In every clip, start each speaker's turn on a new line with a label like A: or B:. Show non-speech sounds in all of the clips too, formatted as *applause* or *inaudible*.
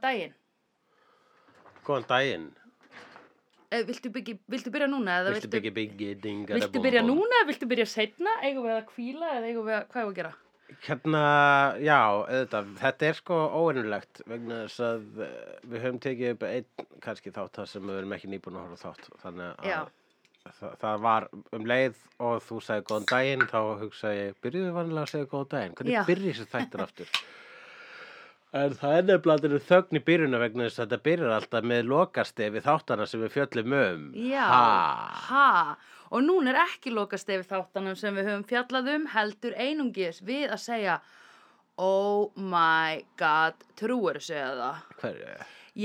A: daginn.
B: Góðan daginn.
A: Eh, Viltu, byggi, viltu byrja núna? eða
B: Viltu byggja byggja dingar
A: Viltu byrja núna eða viltu byrja setna? Eigum við að kvíla eða eigum við að, hvað eigum við að gera?
B: Hérna, já, auðvitað, þetta er sko óvinnulegt vegna þess að eh, við höfum tekið upp einn kannski þátt þar sem við erum ekki nýbúin að horfa á þátt. Þannig
A: Já.
B: að það, það var um leið og þú sagði góðan daginn, þá hugsaði ég, byrjuðu við vanlega að segja góðan daginn?
A: Já.
B: Hvernig byrjið þessi þættir aftur? En það er nefnilega að þetta eru þögn í byrjunu vegna þess að þetta byrjar alltaf með lokastefi þáttana sem við fjöllum um.
A: Já,
B: Ha.
A: ha. og núna er ekki lokast yfir þáttanum sem við höfum fjallað um heldur einungis við að segja Oh my god, trúur þessu eða?
B: Hverju?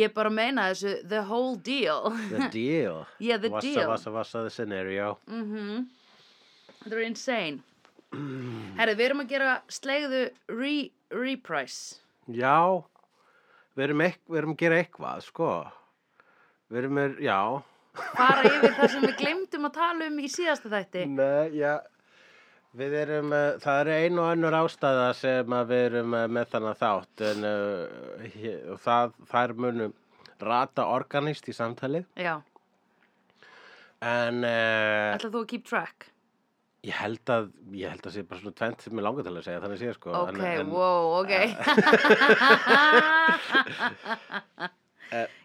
A: Ég bara meina þessu the whole deal. *laughs*
B: The deal.
A: Yeah, the
B: vassa,
A: deal.
B: Vassa, vassa, the scenario.
A: Þetta er insane. Herri, við erum að gera slegðu re reprise.
B: Já, við erum, ekk, við erum að gera eitthvað, sko. Við erum, er, já.
A: Fara yfir það sem við glemdum að tala um í síðasta þætti.
B: Nei, já. Við erum, eh, það eru ein og önnur ástæða sem að við erum eh, með þannig þátt. En uh, hér, og það, þær munum rata organist í samtalið.
A: Já,
B: En uh,
A: ætlaðu þú að keep track?
B: ég held að, ég held að sé bara svona tvent sem ég langar til að segja, þannig sé, sko.
A: Ok,
B: en, en,
A: wow, *laughs* ok.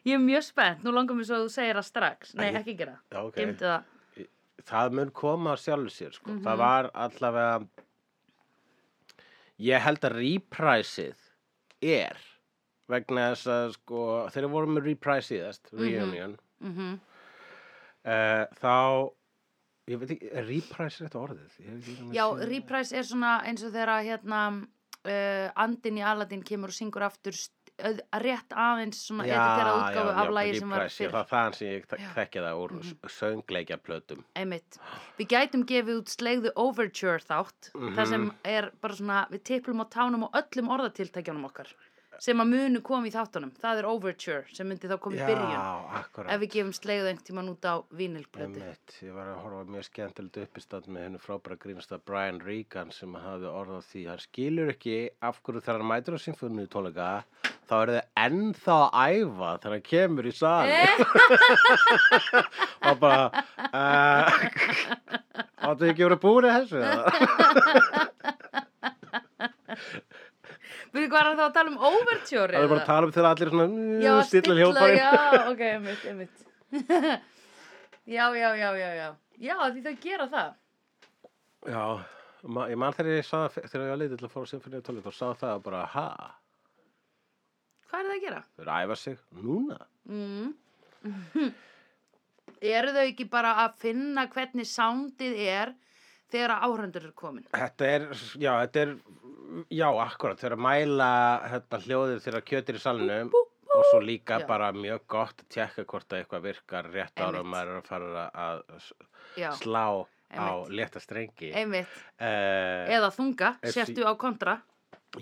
A: ég er mjög spennt, nú langar mér svo að þú segir það strax. Nei,
B: Eh. Æ, ég-
A: ekki gera það.
B: Já, ok.
A: Geymdu það.
B: það mun koma af sjálfu sér sko.
A: Mhm.
B: það var allavega ég held að repræsið er vegna þess að sko, þegar við vorum með repræsið
A: Mhm.
B: þess reunion
A: Mm
B: eh, þá ég veit ekki, er repræsið þetta orðið Ég veit ekki hvað maður
A: Já,
B: segir.
A: reprise er svona eins og þegar að, hérna uh, andin í Aladdin kemur og syngur aftur st- öð, rétt aðeins svona
B: Já,
A: editera
B: já,
A: útgáfu af
B: já,
A: lagi sem var
B: reprise, já,
A: fyrr.
B: það er þaðan sem ég
A: Já. Mhm.
B: þekkja það úr söngleikjaplötum
A: Einmitt. Við gætum gefið út slegðu overture þátt,
B: Mhm.
A: þar sem er bara svona, við tiplum á tánum og öllum orðatiltækjanum okkar, sem að munu koma í þáttunum. Það er overture, sem myndi þá koma í byrjun,
B: já, akkurat
A: ef við gefum slegðu einhvern tíman út á vínilblöti.
B: Einmitt, ég var að horfa á mjög skemmtilegt uppistand með hennu frábæra grínasta Brian Regan sem hafði orð á því hann skilur ekki af hverju þegar hann mætur á sinfónu tónleika þá eru þið ennþá að æfa þegar hann kemur í sali
A: Eh.
B: og bara uh, áttu ekki verið að
A: *laughs*
B: búið þessu eða?
A: Við hvað er það að tala um overture?
B: það er bara að
A: eða?
B: tala um þegar allir svona
A: Já,
B: mm, stilla hljóðfæri
A: Já, ok, einmitt, einmitt. *laughs* já, já, já, já, já. Já, því þau gera það.
B: já, ma- ég man þegar ég sá það þegar ég var leitið til að fóra á sinfónu tónleika og sá það og bara ha,
A: Hvað er það að gera?
B: þau eru að æfa sig núna
A: Mm. Eru þau ekki bara að finna hvernig soundið er þegar að áhrandur er komin?
B: Þetta er, já, þetta er, já, akkurat, þeir eru að mæla hérna, hljóðið þegar kjötir í salnum og svo líka
A: Já.
B: bara mjög gott að tjekka hvort að eitthvað virkar rétt ára og
A: Einmitt.
B: maður er að fara að s-
A: Já,
B: slá á
A: Einmitt.
B: létta strengi.
A: einmitt.
B: Uh,
A: Eða þunga,
B: Ef
A: sértu á kontra.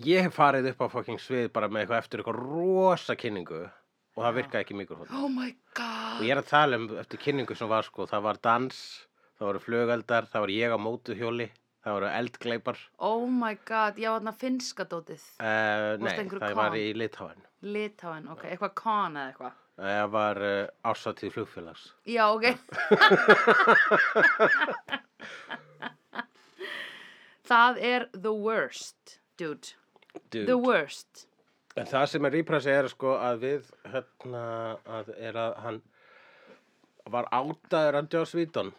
B: ég hef farið upp á fucking svið bara með eitthvað eftir eitthvað rosa kynningu og það virkaði ekki mikrofónu.
A: Oh my
B: Og
A: god.
B: ég er að tala um eftir kynningu sem var sko, það var dans, það voru flugaldar, það var ég á mótuhjóli, það voru eldgleipar.
A: Oh my god, já, þarna finnska dótið.
B: Uh, nei,
A: einhverju
B: það
A: kon?
B: var í Litáin.
A: Litáin, ok, eitthvað kon eða eitthvað.
B: Það var uh, ásatíð flugfélags.
A: Já, ok. *laughs* það er the worst, dude. The worst.
B: En það sem er ípræsi er sko að við, hérna, að er að hann var áttaður af Joss Víton.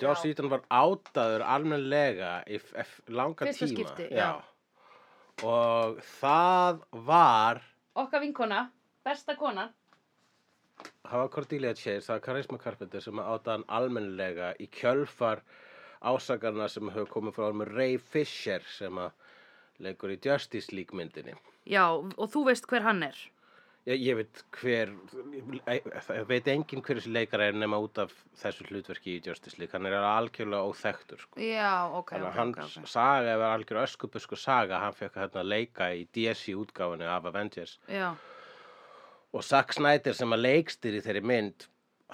B: Joss
A: Já.
B: Víton var áttaður almenlega í f- f- langa
A: Fyrsta
B: tíma.
A: skipti,
B: Og það var,
A: Okka vinkona, besta konan.
B: það var Cordelia Chase, það var Karisma Carpenter sem áttaði hann almenlega í kjölfar ásakarna sem hefur komið frá hann með Ray Fisher sem að leikur í Justice League myndinni.
A: Já, og þú veist hver hann er.
B: Ég, ég veit hver, ég, ég veit enginn hver þessi leikara er nema út af þessu hlutverki í Justice League. Hann er algjörlega óþekktur, sko.
A: Já, ok,
B: Þannig
A: ok,
B: að hans
A: ok. ok.
B: saga ef er algjör öskubusku saga, hann fekk hérna að leika í DC útgáfunni af Avengers.
A: Já,
B: Og Zack Snyder sem að leikstir í þeirri mynd,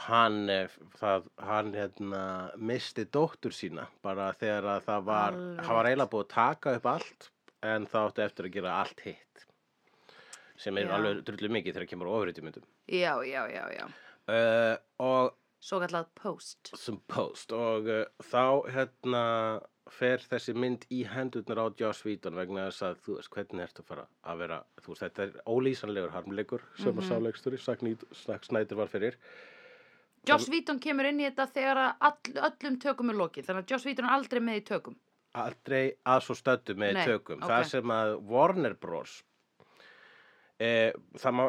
B: hann, eh, það, hann hérna, misti dóttur sína bara þegar að það var,
A: Alveg
B: hann var
A: rétt.
B: eiginlega búið að taka upp allt en þá átti eftir að gera allt hitt. sem er
A: Já.
B: alveg drullu mikið þegar kemur ofriðtjumyndum
A: já, já, já, já.
B: uh, og
A: Svo kallað post.
B: sem post og uh, þá hérna fer þessi mynd í hendurnar á Joss Whedon vegna þess að þú veist hvernig ertu að fara að vera þú veist þetta er ólýsanlegur harmleikur sem mm -hmm. að sáleiksturi Snædur var fyrir
A: Joss Víton kemur inn í þetta þegar að all, öllum tökum er lokið. Þannig að Joss Víton er aldrei með í tökum.
B: aldrei að svo stöddu með
A: Nei,
B: tökum
A: ok.
B: það sem að Warner Bros e, það má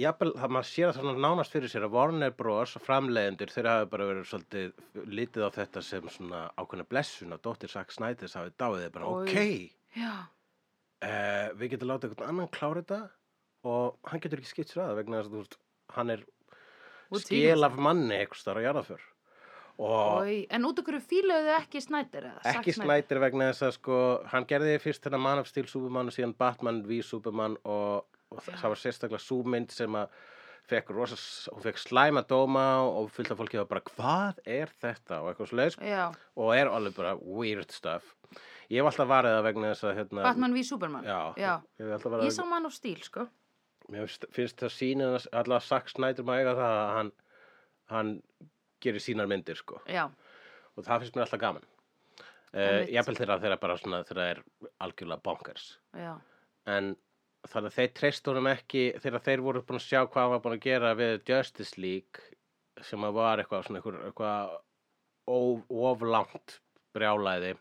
B: jafnvel, það maður sér að það nánast fyrir sér að Warner Bros framleiðendur þeir hafi bara verið svolítið litið á þetta sem svona ákveðna blessun að dóttir Zack Snyder hafi dáið þeir bara
A: Oj.
B: ok
A: Já.
B: Uh, við getum látið einhvern annan klára þetta og hann getur ekki skipt sér að vegna þess að þú veist, hann er
A: Og
B: skil af manni einhvers þar á jarðaför og
A: Oi, en út okkur fílaðu þau ekki Snæder eða? Zack
B: ekki snætir vegna þess að sko, hann gerði fyrst þennan Man of Steel Superman og síðan Batman v Superman og, og það það var sérstaklega súmynd sem að fekk rosa, s- hún fekk slæma dóma og fyllt af fólki var bara hvað er þetta og eitthvað slags
A: Já,
B: og er alveg bara weird stuff ég hef alltaf varðið það vegna þess að hérna,
A: Batman v Superman.
B: já,
A: Já.
B: Ég, hef alltaf varið
A: Ég
B: það-
A: sá mann á stíl, sko.
B: Mér finnst- finnst það sína allavega Zack Snyder maður eiga það að hann, hann gerir sínar myndir sko
A: Já,
B: og það finnst mér alltaf gaman uh,
A: Einmitt.
B: jafnvel þeirra þeirra bara svona þeirra er algjörlega bonkers
A: já.
B: en þannig að þeir treyst honum ekki þegar þeir voru búin að sjá hvað hann var búin að gera við Justice League sem að var eitthvað svona eitthvað, eitthvað of, of langt brjálæði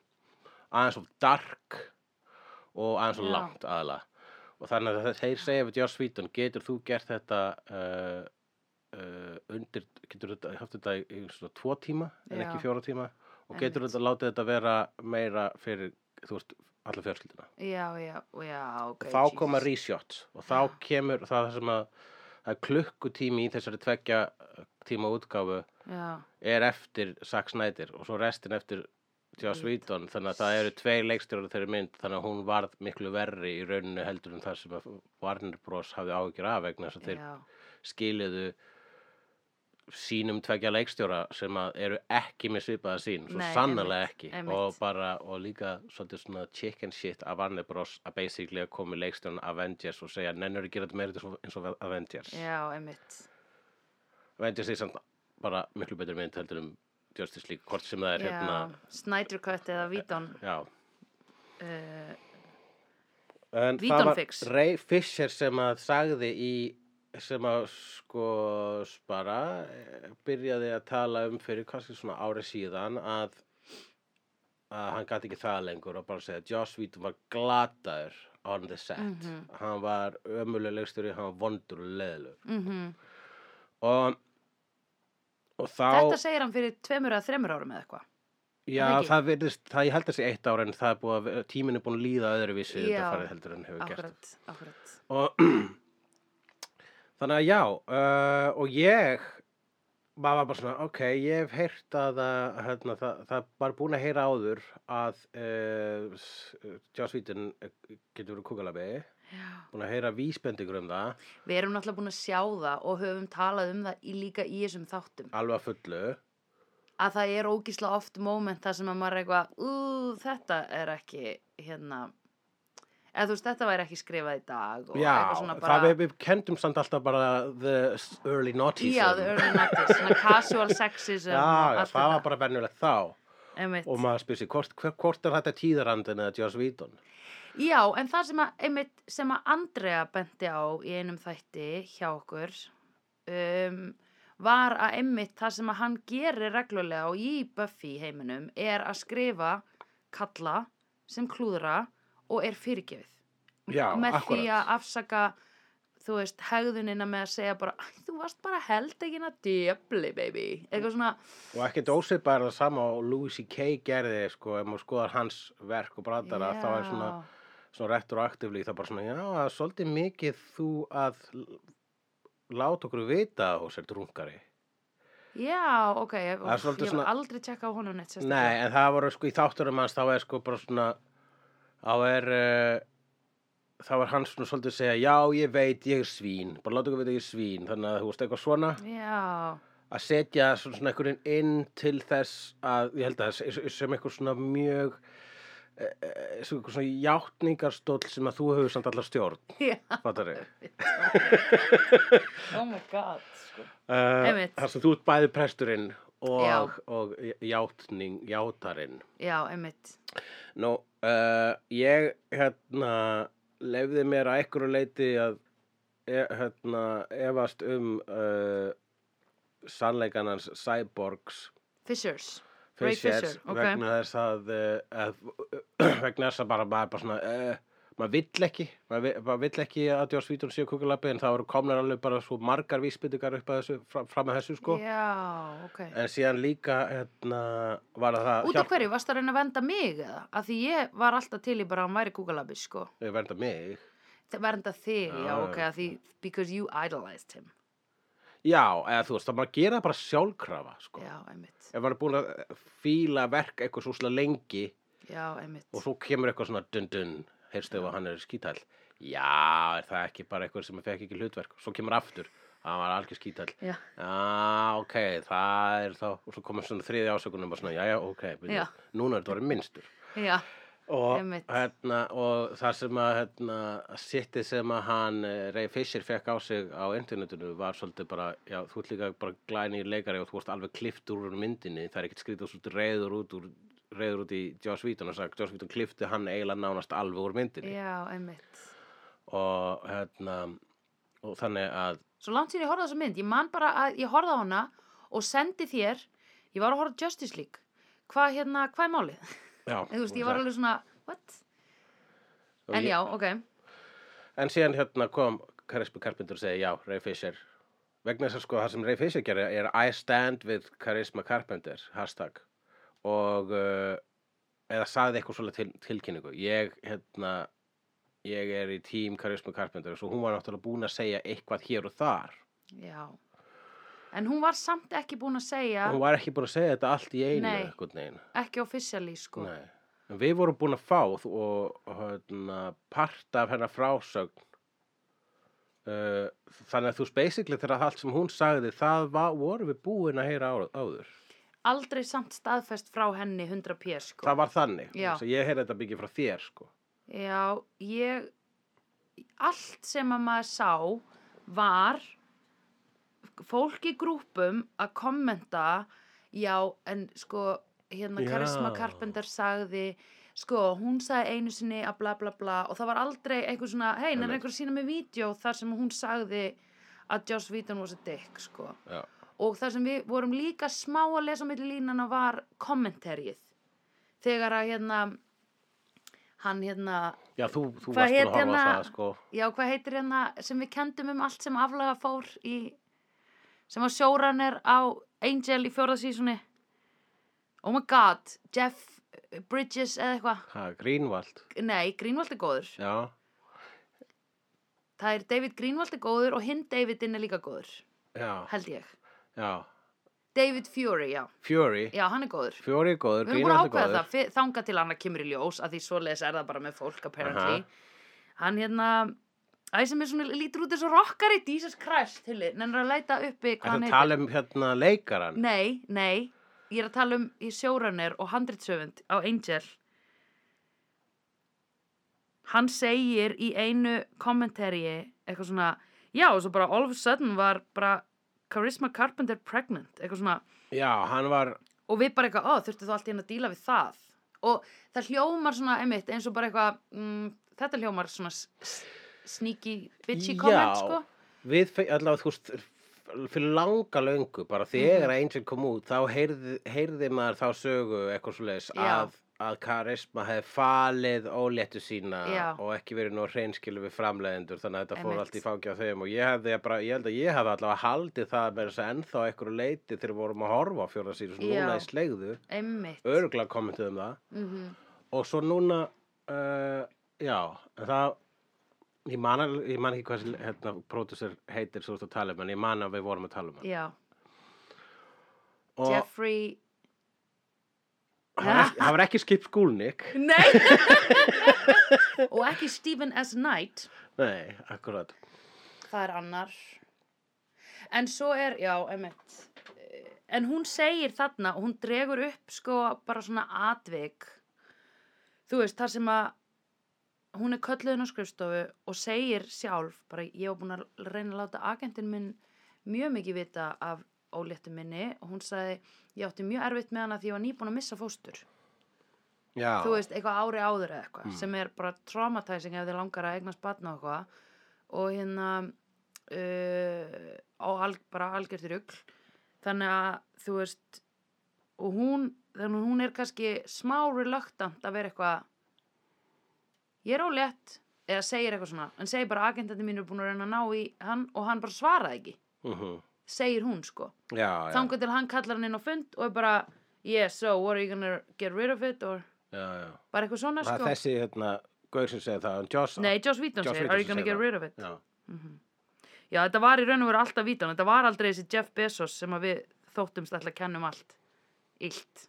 B: aðeins of dark og aðeins of
A: Já.
B: langt aðalega og þannig að þeir segja við Joss Whedon getur þú gert þetta uh, uh, undir getur þetta, haft þetta í, í svona tvo tíma en
A: Já.
B: ekki fjóra tíma og
A: Einmitt.
B: getur þetta látið þetta vera meira fyrir þú veist alla fjölskylduna
A: Já, já, já, ok.
B: þá
A: Jesus.
B: koma reshots og þá kemur það sem að, að klukkutími í þessari tveggja eh, tíma útgáfu
A: Já,
B: er eftir Zack Snyder og svo restin eftir Joss Whedon þannig að það eru tveir leikstjórar þeirri mynd þannig að hún varð miklu verri í rauninu heldur en það sem að Warner Bros hafði áhyggjur af vegna þess að þeir
A: já,
B: skiliðu sínum tveggja leikstjóra sem að eru ekki með svipaða sín svo
A: Nei,
B: sannarlega
A: einmitt,
B: ekki
A: einmitt.
B: og bara og líka svolítið svona chicken shit af Warner Bros að basically að koma í leikstjórn Avengers og segja nennur að gera þetta meira eins og- eins og Avengers
A: já, einmitt.
B: Avengers er samt bara miklu betur mynd heldur um Justice League hvort sem það er
A: Já,
B: hérna
A: Snyder Cut eða Vítón.
B: já
A: Uh,
B: En
A: Víton
B: það var
A: fix.
B: Ray Fisher sem að sagði í sem að sko bara eh, byrjaði að tala um fyrir kannski svona ári síðan að, að hann gæti ekki það lengur og bara segja að Joss Whedon var glataður on the set
A: Mhm.
B: hann var ömuleglegstur hann var vondur og leðlur
A: mm
B: og, og þá
A: Þetta segir hann fyrir tveimur eða þremur árum eða eitthvað.
B: já,
A: ekki.
B: það virðist, það ég held að sé eitt ára en það er búið að tíminn er búin að líða öðruvísi
A: Já.
B: þetta farið heldur en hefur gert
A: Akkurat, akkurat.
B: og *clears throat* þannig að já uh, og ég maður var bara svona, ok, ég hef heyrt að það, hérna, það, það var búin að heyra áður að uh, Joss Whedon eh, getur verið kúkalabi
A: Já.
B: búin að heyra vísbendingur um það
A: Við erum náttúrulega búin að sjá það og höfum talað um það í, líka í þessum þáttum.
B: alveg að fullu
A: Að það er ógísla oft moment þar sem að maður er eitthvað, ú, þetta er ekki, hérna, eða þú veist, þetta væri ekki skrifað í dag. og
B: já,
A: eitthvað svona bara-
B: það við, við kendum samt alltaf bara the early noughties
A: Já, the early nineties, svona casual sexism
B: *laughs* já,
A: og
B: já,
A: allt
B: það
A: þetta.
B: var bara vennulegt þá
A: Einmitt.
B: og maður spyrir sig, hvort, hver- hvort er þetta tíðarandin eða Joss Whedon
A: Já, en það sem að, einmitt, sem að Andrea benti á í einum þætti hjá okkur um, var að einmitt það sem að hann gerir reglulega og í Buffy heiminum er að skrifa kalla sem klúðra og er fyrirgefið.
B: já,
A: með því
B: akkúrat.
A: að afsaka, þú veist, hegðunina með að segja bara, "Æ, þú varst bara held ekki að djöfli, baby. Eitthvað svona,
B: Og ekkert ósvipað er það sama og Louis C.K. gerði, sko, ef maður skoðar hans verk og brandara, þá er svona,
A: Já.
B: svona retroaktivlík, það er bara svona, já, það er svolítið mikið þú að l- láta okkur vita að þú sért rungari.
A: Já, ok, ég,
B: Það er
A: úff,
B: svolítið
A: ég
B: svona-
A: hef aldrei tjekka á honum neitt
B: Nei, en það voru, sko, í þátturum hans, þá er sko bara svona, þá er, uh, þá er hans svona svolítið að segja, já, ég veit, ég er svín, bara láta okkur vita að ég er svín, þannig að þú veist eitthvað svona.
A: Já, *laughs*
B: að setja svona, svona einhverjum inn til þess að, ég held að það sé- sem einhver svona mjög svona, svona játningarstóll sem að þú hefur samt allar
A: *laughs*
B: stjórn
A: Já,
B: fattari
A: oh my god, sko.
B: uh,
A: Einmitt.
B: þar sem þú ert bæði presturinn
A: Já.
B: og, og játning, játarinn
A: Já, einmitt.
B: Nú, uh, ég hérna lefði mér að einhverju leiti að e, hérna, efast um uh, sannleikanans cyborgs
A: Fishers. Ray Fisher,
B: Fishers
A: ok.
B: vegna þess að, eh, *clears throat* að vegna þess að bara maður er bara svona uh, maður vill ekki maður vill, maður vill ekki að Joss Vítun séu kukulabbi en það voru komnar alveg bara svo margar vísbyndingar upp að þessu, fram, fram að þessu sko
A: Já, ok.
B: en síðan líka hérna, var það það
A: Út af hverju, varst það að reyna að venda mig eða? Af því ég var alltaf til í bara að hann væri kúkalabbi, sko.
B: hverju vernda mig
A: Það vernda þig, já,
B: Já,
A: ok, af því because you idolized him.
B: já, eða þú veist, það maður gera það bara sjálfkrafa sko.
A: Já, einmitt.
B: ef maður er búin að fíla verk eitthvað svo slega lengi
A: Já, einmitt.
B: og þú kemur eitthvað svona dun dun, heyrstu ef að hann er skítall já, er það ekki bara eitthvað sem fekk ekki hlutverk, svo kemur aftur hann var algjör skítall
A: Já,
B: já, ok, það er þá og svo komur svona þriði ásökunum og svona, já, já, ok byrju,
A: Já.
B: núna er þetta orðið minnstur
A: já,
B: og,
A: Einmitt.
B: hérna, og það sem að hérna, sittið sem að hann eh, Ray Fisher fekk á sig á internetinu var svolítið bara, já, þú ert líka bara glænir leikari og þú ert alveg klift úr myndinni, það er ekkert skrítið svolítið reyður út úr reyður út í Joss Whedon og sagt, Joss Whedon klifti hann eiginlega nánast alveg úr myndinni
A: já, einmitt.
B: og hérna og þannig að
A: Svo langt sér ég horfði á þessa mynd, ég man bara að ég horfði á hana og sendi þér, ég var að horfa á Justice League. Hvað hérna, hvað er málið? *laughs*
B: já,
A: Þú veist, ég var alveg svona, what?
B: og
A: En
B: ég-
A: já, ok,
B: En síðan hérna kom Carisma Carpenter og segi já, Ray Fisher vegna þess að sko það sem Ray Fisher gerir er I stand with Carisma Carpenter hashtag og uh, eða saði eitthvað svolítið til, tilkynningu ég hérna ég er í tím Carisma Carpenter svo hún var náttúrulega búin að segja eitthvað hér og þar
A: já. En hún var samt ekki búin að segja,
B: hún var ekki búin að segja þetta allt í einu
A: Nei.
B: eitthvað neginn
A: ekki officially, sko.
B: Nei. En við vorum búin að fá þú- og hérna, part af hennar frásögn uh, þannig að þú veist, basically þegar allt sem hún sagði það var, vorum við búin að heyra á- áður
A: Aldrei samt staðfest frá henni 100 p, sko.
B: það var þannig,
A: Já.
B: þess að ég heyrði þetta byggja frá þér sko.
A: Já, ég, allt sem að maður sá var fólk í grúpum að kommenta, já, en sko, hérna
B: Já.
A: Karisma Carpenter sagði, sko, hún sagði einu sinni að bla bla bla og það var aldrei eitthvað svona, hei, nær
B: Einmitt.
A: einhver að sína mig vídeo þar sem hún sagði að Joss Whedon was a dick, sko.
B: Já.
A: Og það sem við vorum líka smá að lesa millir línana var kommenterið. Þegar að hérna, hann hérna,
B: já, þú, þú
A: Hvað
B: varst búin
A: hét
B: að horfa á
A: hérna-
B: það sko.
A: Já, hvað heitir hérna sem við kendum um allt sem aflaga fór í, sem að sjóran er á Angel í fjórðasísunni. Oh my god, Jeff Bridges eða eitthvað.
B: ha, Greenwald
A: Nei, Greenwald er góður.
B: já,
A: Það er David Greenwald er góður og hinn Davidinn er líka góður,
B: já,
A: held ég.
B: já. Fury
A: David Fury, já. Já, hann er góður.
B: Fury er góður,
A: Við erum búin að
B: Greenwald er
A: ákveða
B: góður
A: það, fyr- þangað til annað kemur í ljós, að því svoleiðis er það bara með fólk, apparently. Hann hérna, æ, sem er svona, lítur út eins og rockari, Jesus Christ, hulli, nennir að leita uppi hvað hann
B: Þetta
A: heitir.
B: tala um hérna leikaran
A: Nei, nei, ég er að tala um í sjórunir og handritsöfund á Angel. Hann segir í einu kommentariði eitthvað svona, já, og svo bara all of a sudden var bara Charisma Carpenter pregnant, eitthvað svona,
B: Já, hann var
A: og við bara eitthvað, ó, þurftu þú allt í henni að díla við það? Og það hljómar svona, einmitt, eins og bara eitthvað, mm, þetta hljómar svona s- s- sneaky bitchy
B: Já.
A: comment, sko.
B: við fe- allavega þú veist fyrir langa löngu, bara þegar
A: Mhm.
B: Angel kom út þá heyrði, heyrði maður þá sögu eitthvað svo leiðis
A: Já.
B: að, að karisma hefði falið óléttu sína
A: Já.
B: og ekki verið nú hreinskilu við framleiðendur þannig að þetta fór
A: Einmitt.
B: allt í fangja á þeim og ég, hefði bara, ég held að ég hefði allavega haldið það með þess að ennþá einhverju leiti þegar við vorum að horfa á fjóra síru svona
A: Já.
B: núna í slegðu
A: Einmitt.
B: örgla kommentið um það
A: Mm
B: og svo núna uh, já, en það ég man, al- ég man ekki hvað þessi, hérna, pródusser heitir svo þú ert að tala um en ég man að við vorum að tala um hann
A: Já,
B: og
A: Jeffrey...
B: hann var ekki- hann var ekki skip skúlnik
A: Nei *laughs* Og ekki Stephen S. Knight
B: nei, akkurat
A: Það er annar En svo er, já, Eh, emmett En hún segir þarna og hún dregur upp sko bara svona atvik Þú þú veist, þar sem að hún er kölluðin á skrifstofu og segir sjálf, bara ég var búin að reyna að láta agentinn minn mjög mikið vita af óléttu minni og hún sagði, ég átti mjög erfitt með hana því ég var nýbúin að missa fóstur
B: Já,
A: þú veist, eitthvað ári áður eða eitthvað
B: Mm.
A: sem er bara traumatizing ef þið langar að eignast batna og eitthvað og hérna uh, á alg, bara algjört rugl þannig að þú veist og hún, þannig að hún er kannski smá reluctant að vera eitthvað ég er ólétt eða segir eitthvað svona, en segir bara agentandi mín er búin að reyna að ná í hann og hann bara svaraði ekki,
B: mm -hmm.
A: segir hún sko
B: já, já,
A: þangar til hann kallar hann inn á fund og er bara, yeah, so what are you gonna get rid of it or
B: já, já.
A: bara eitthvað svona
B: Það
A: sko
B: er þessi, hérna, Gaur sem segir það, um Joss.
A: Nei, Joss Whedon
B: Joss
A: segir,
B: Whedon
A: are you gonna get
B: segir það.
A: rid of it? Já.
B: Já,
A: þetta var í raun og veru alltaf Whedon, þetta var aldrei þessi Jeff Bezos sem að við þóttumst alltaf kennum allt illt.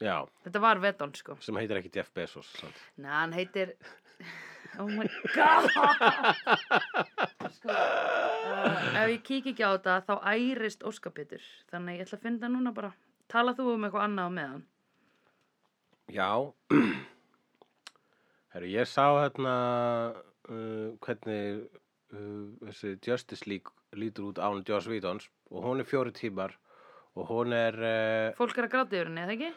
B: já,
A: Þetta var Whedon, sko.
B: sem heitir ekki Jeff Bezos. sant?
A: Nei, hann heitir... *laughs* Oh my god! *laughs* sko, uh, ef ég kík ekki á þetta, þá ærist óskapitur. Þannig ég ætla að finna það núna bara. Tala þú um eitthvað annað á meðan?
B: Já. *clears throat* Herru, ég sá hérna uh, hvernig uh, þessi Justice League lítur út án Joss Vítons og hún er fjóri tímar og hún er... Uh,
A: Fólk er að gráta yfir henni, eða ekki?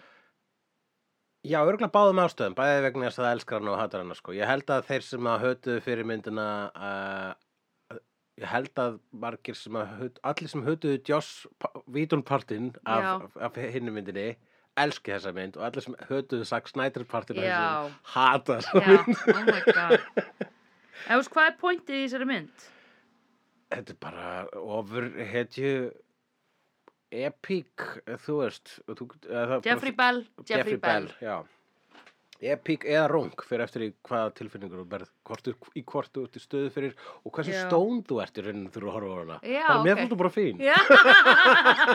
B: Já, örgulega báðum ástöðum, bæði vegna þess að elskar hann og hatar hann sko. Ég held að þeir sem að hötuðu fyrir myndina uh, ég held að margir sem að hötu, allir sem hötuðu Joss Vítun-partinn af,
A: Já.
B: af, af hinni myndinni elski þessa mynd og allir sem hötuðu Zack Snyder-partinn af
A: Já.
B: þessu hata þessa
A: Já,
B: mynd. *laughs*
A: oh my god. Ef þú veist, hvað er pointið í þessari mynd?
B: Þetta er bara ofur hetju epic, þú veist og þú, eða það-
A: Jeffrey Bell, Jeffrey, Bell.
B: já. Epic eða rung fyrir eftir í hvaða tilfinningur þú berð, hvort þú, í hvort þú ert í stöðu fyrir og hversu
A: Já.
B: stón þú ert í rauninu þú að horfa á hana.
A: Já,
B: bara mér
A: ok.
B: fannst þú bara fín. *laughs*
A: Já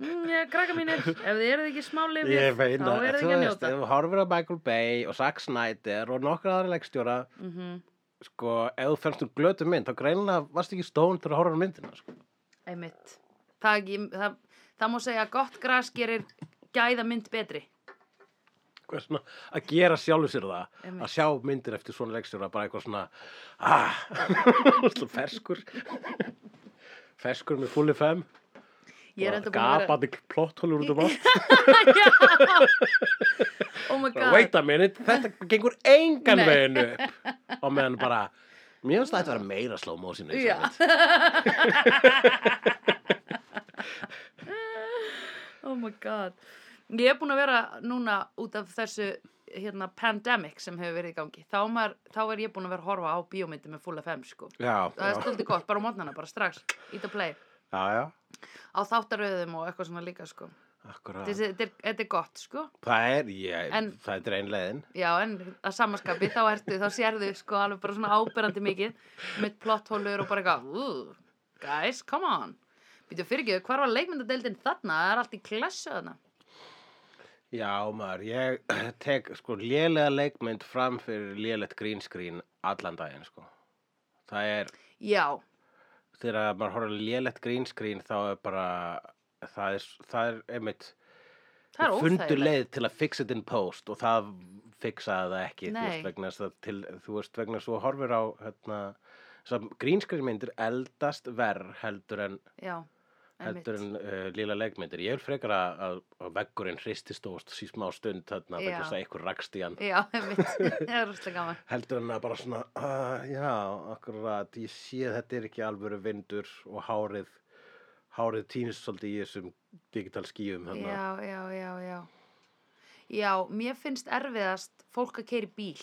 A: Mm, já, Krakka mínir, ef þið eruð ekki smá lifið,
B: Ég veit
A: þá
B: að,
A: eruð
B: þú
A: ekki að
B: veist,
A: njóta
B: ef þú horfir á Michael Bay og Zack Snyder og nokkra aðra leikstjóra,
A: mm
B: sko, ef þú fannst þú glötu mynd, þá greinilega varst ekki stón þegar þú horfir á myndina, sko.
A: Einmitt það, ekki- það, það má segja að gott gras gerir gæða mynd betri
B: Hvað er svona að gera sjálfu sér það,
A: Einmitt.
B: að sjá myndir eftir svona leikstjóra, bara eitthvað svona, ah, *laughs* svona ferskur, *laughs* ferskur með fulli fem.
A: Ég er enda búin að *laughs* vera
B: gapandi plotthólur út um
A: *laughs*
B: allt
A: Oh my
B: Bara,
A: god
B: wait a minute, þetta gengur engan
A: Nei.
B: veginn upp og meðan bara *laughs* mér finnst það að vera meira slow motion í
A: Já.
B: þessari mynd.
A: Oh my god Ég er búin að vera núna út af þessu hérna, pandemic sem hefur verið í gangi þá, er maður, þá er ég búin að vera að horfa á bíómyndi með full FM sko Það er
B: já,
A: stöldi gott, bara á mótnana, bara strax, ít að play
B: já, já,
A: á þáttaröðum og eitthvað svona líka sko
B: akkurat
A: Þessi- þetta er, þetta er gott sko
B: það er, ég,
A: En-
B: það er ein leiðin
A: já en að samaskapi þá ertu þá sérðu sko alveg bara svona áberandi mikið með plotthólur og bara eitthvað "Ú, guys come on býtu fyrir ekki hvar var leikmyndadeildin þarna það er allt í klassu þarna
B: já, maður, ég *clears throat* tek sko lélega leikmynd fram fyrir lélegt green screen allan daginn, sko það er,
A: já
B: þegar maður horfir á lélegt green screen þá er bara það er, það er einmitt
A: það er
B: fundu
A: óþægilegt
B: leið til að fixa þetta in post og það fixaði það ekki þú
A: Nei.
B: veist vegna þess að til, þú veist vegna svo horfir á hérna, grínskriðmyndir eldast verð heldur en,
A: já einmitt.
B: heldur en uh, líla leikmyndir ég vil frekar að, að, að veggurinn hristist og síst smá stund þarna
A: Já.
B: vegna þess að eitthvað rakst í hann
A: já einmitt *laughs* það er rústlega gaman
B: heldur en að bara svona uh, já, akkurat, ég sé að þetta er ekki alvöru vindur og hárið hárið týnist svolítið í þessum digital skíum þarna.
A: já já já já já mér finnst erfiðast fólk að keiri bíl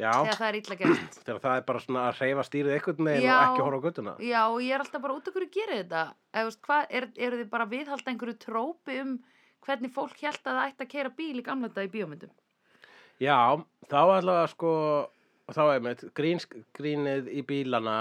B: já.
A: þegar það er illa gert
B: Þegar það er bara svona að reyfa stýrið einhvern veginn
A: Já.
B: og ekki horfa á göttuna.
A: Já, og ég er alltaf bara út af hverju gerir þetta. Eða, þú veist, hvað, er, eru þið bara að viðhalda einhverju trópi um hvernig fólk held að það ætti að keira bíl í gamla þetta í bíómyndum?
B: Já, þá allavega sko, þá einmitt, grín, grínið í bílana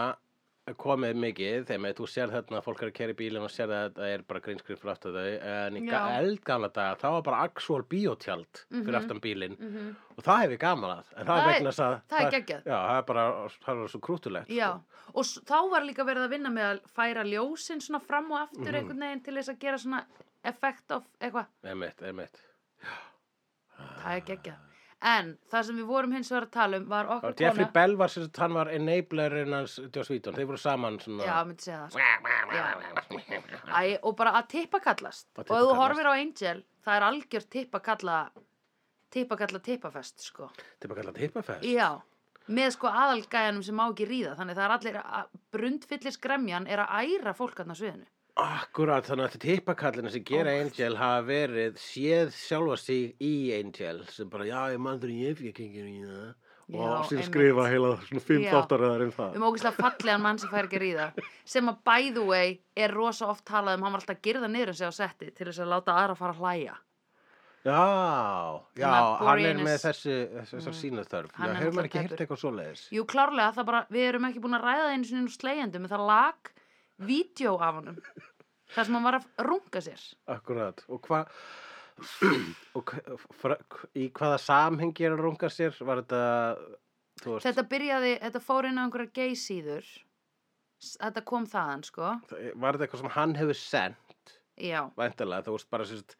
B: er komið mikið, þegar með þú sér þarna að fólk er að kera í bílinn og sér að þetta er bara grínskrið fyrir aftur þau, en í
A: Já.
B: ga- eldgamla daga þá var bara actual bíotjald fyrir
A: Mhm.
B: aftan bílinn
A: -hmm.
B: og það hef ég gaman að, en það,
A: Það
B: er
A: er-
B: vegna þess að
A: Það er geggjað.
B: Já, það er bara, það er svo sko. krútulegt.
A: Já, og s- þá var líka verið að vinna með að færa ljósin svona fram og aftur
B: Mhm.
A: einhvern veginn til þess að gera svona effekt of eitthvað.
B: Sko. Einmitt, einmitt.
A: það er geggjað. En það sem við vorum hins vegar að tala um var
B: Það
A: okkar
B: var Jeffrey Bell var sér að hann var enablerinn hans Joss Whedon, þeir voru saman svona
A: Já, myndi segja það. sko. Æ, og bara að tippa kallast.
B: Að
A: Og ef þú
B: tippakallast.
A: horfir á Angel, það er algjör tippa kalla, tippa kalla tippafest, sko.
B: Þeir bara kallað hippafest
A: Já, með sko aðalgæjanum sem má ekki ríða. Þannig það er allir, að- brundfyllir skremjan er að æra fólk hann á sviðinu.
B: Akkurat, þannig að þetta hippakallina sem gera Angel hafa verið séð sjálfa sig í Angel sem bara, já, ég mann þegar ég fikk ekki í það
A: Já,
B: og síðan
A: einmitt.
B: skrifa heila svona fimm
A: Já.
B: þáttaröðar um það
A: Um ógæslega fallegan mann sem fær ekki að ríða. Sem að by the way er rosa oft talað um, hann var alltaf að girða niður um sig á setti til þess að láta aðra fara að hlæja.
B: Já, já,
A: Þannig að
B: hann er
A: Boreanaz- Mm.
B: með þessu, þessar sínaþörf
A: Hann
B: Já,
A: er
B: hefur maður
A: náttúrulega
B: ekki hýrt
A: tæpur.
B: eitthvað svoleiðis
A: Jú, klárlega, það bara, við erum ekki búin að ræða einu sinni um slegjandum, en það lag vídeo af honum, þar sem hann var að runga sér.
B: Akkurat, og hvað *clears throat* og hva- fra- í hvaða samhengi er að runga sér var þetta, þú veist
A: Þetta byrjaði, þetta fór inn á einhverja geysíður, þetta kom þaðan, sko,
B: var þetta eitthvað sem hann hefur sendt
A: já,
B: væntalega, þú veist bara sérst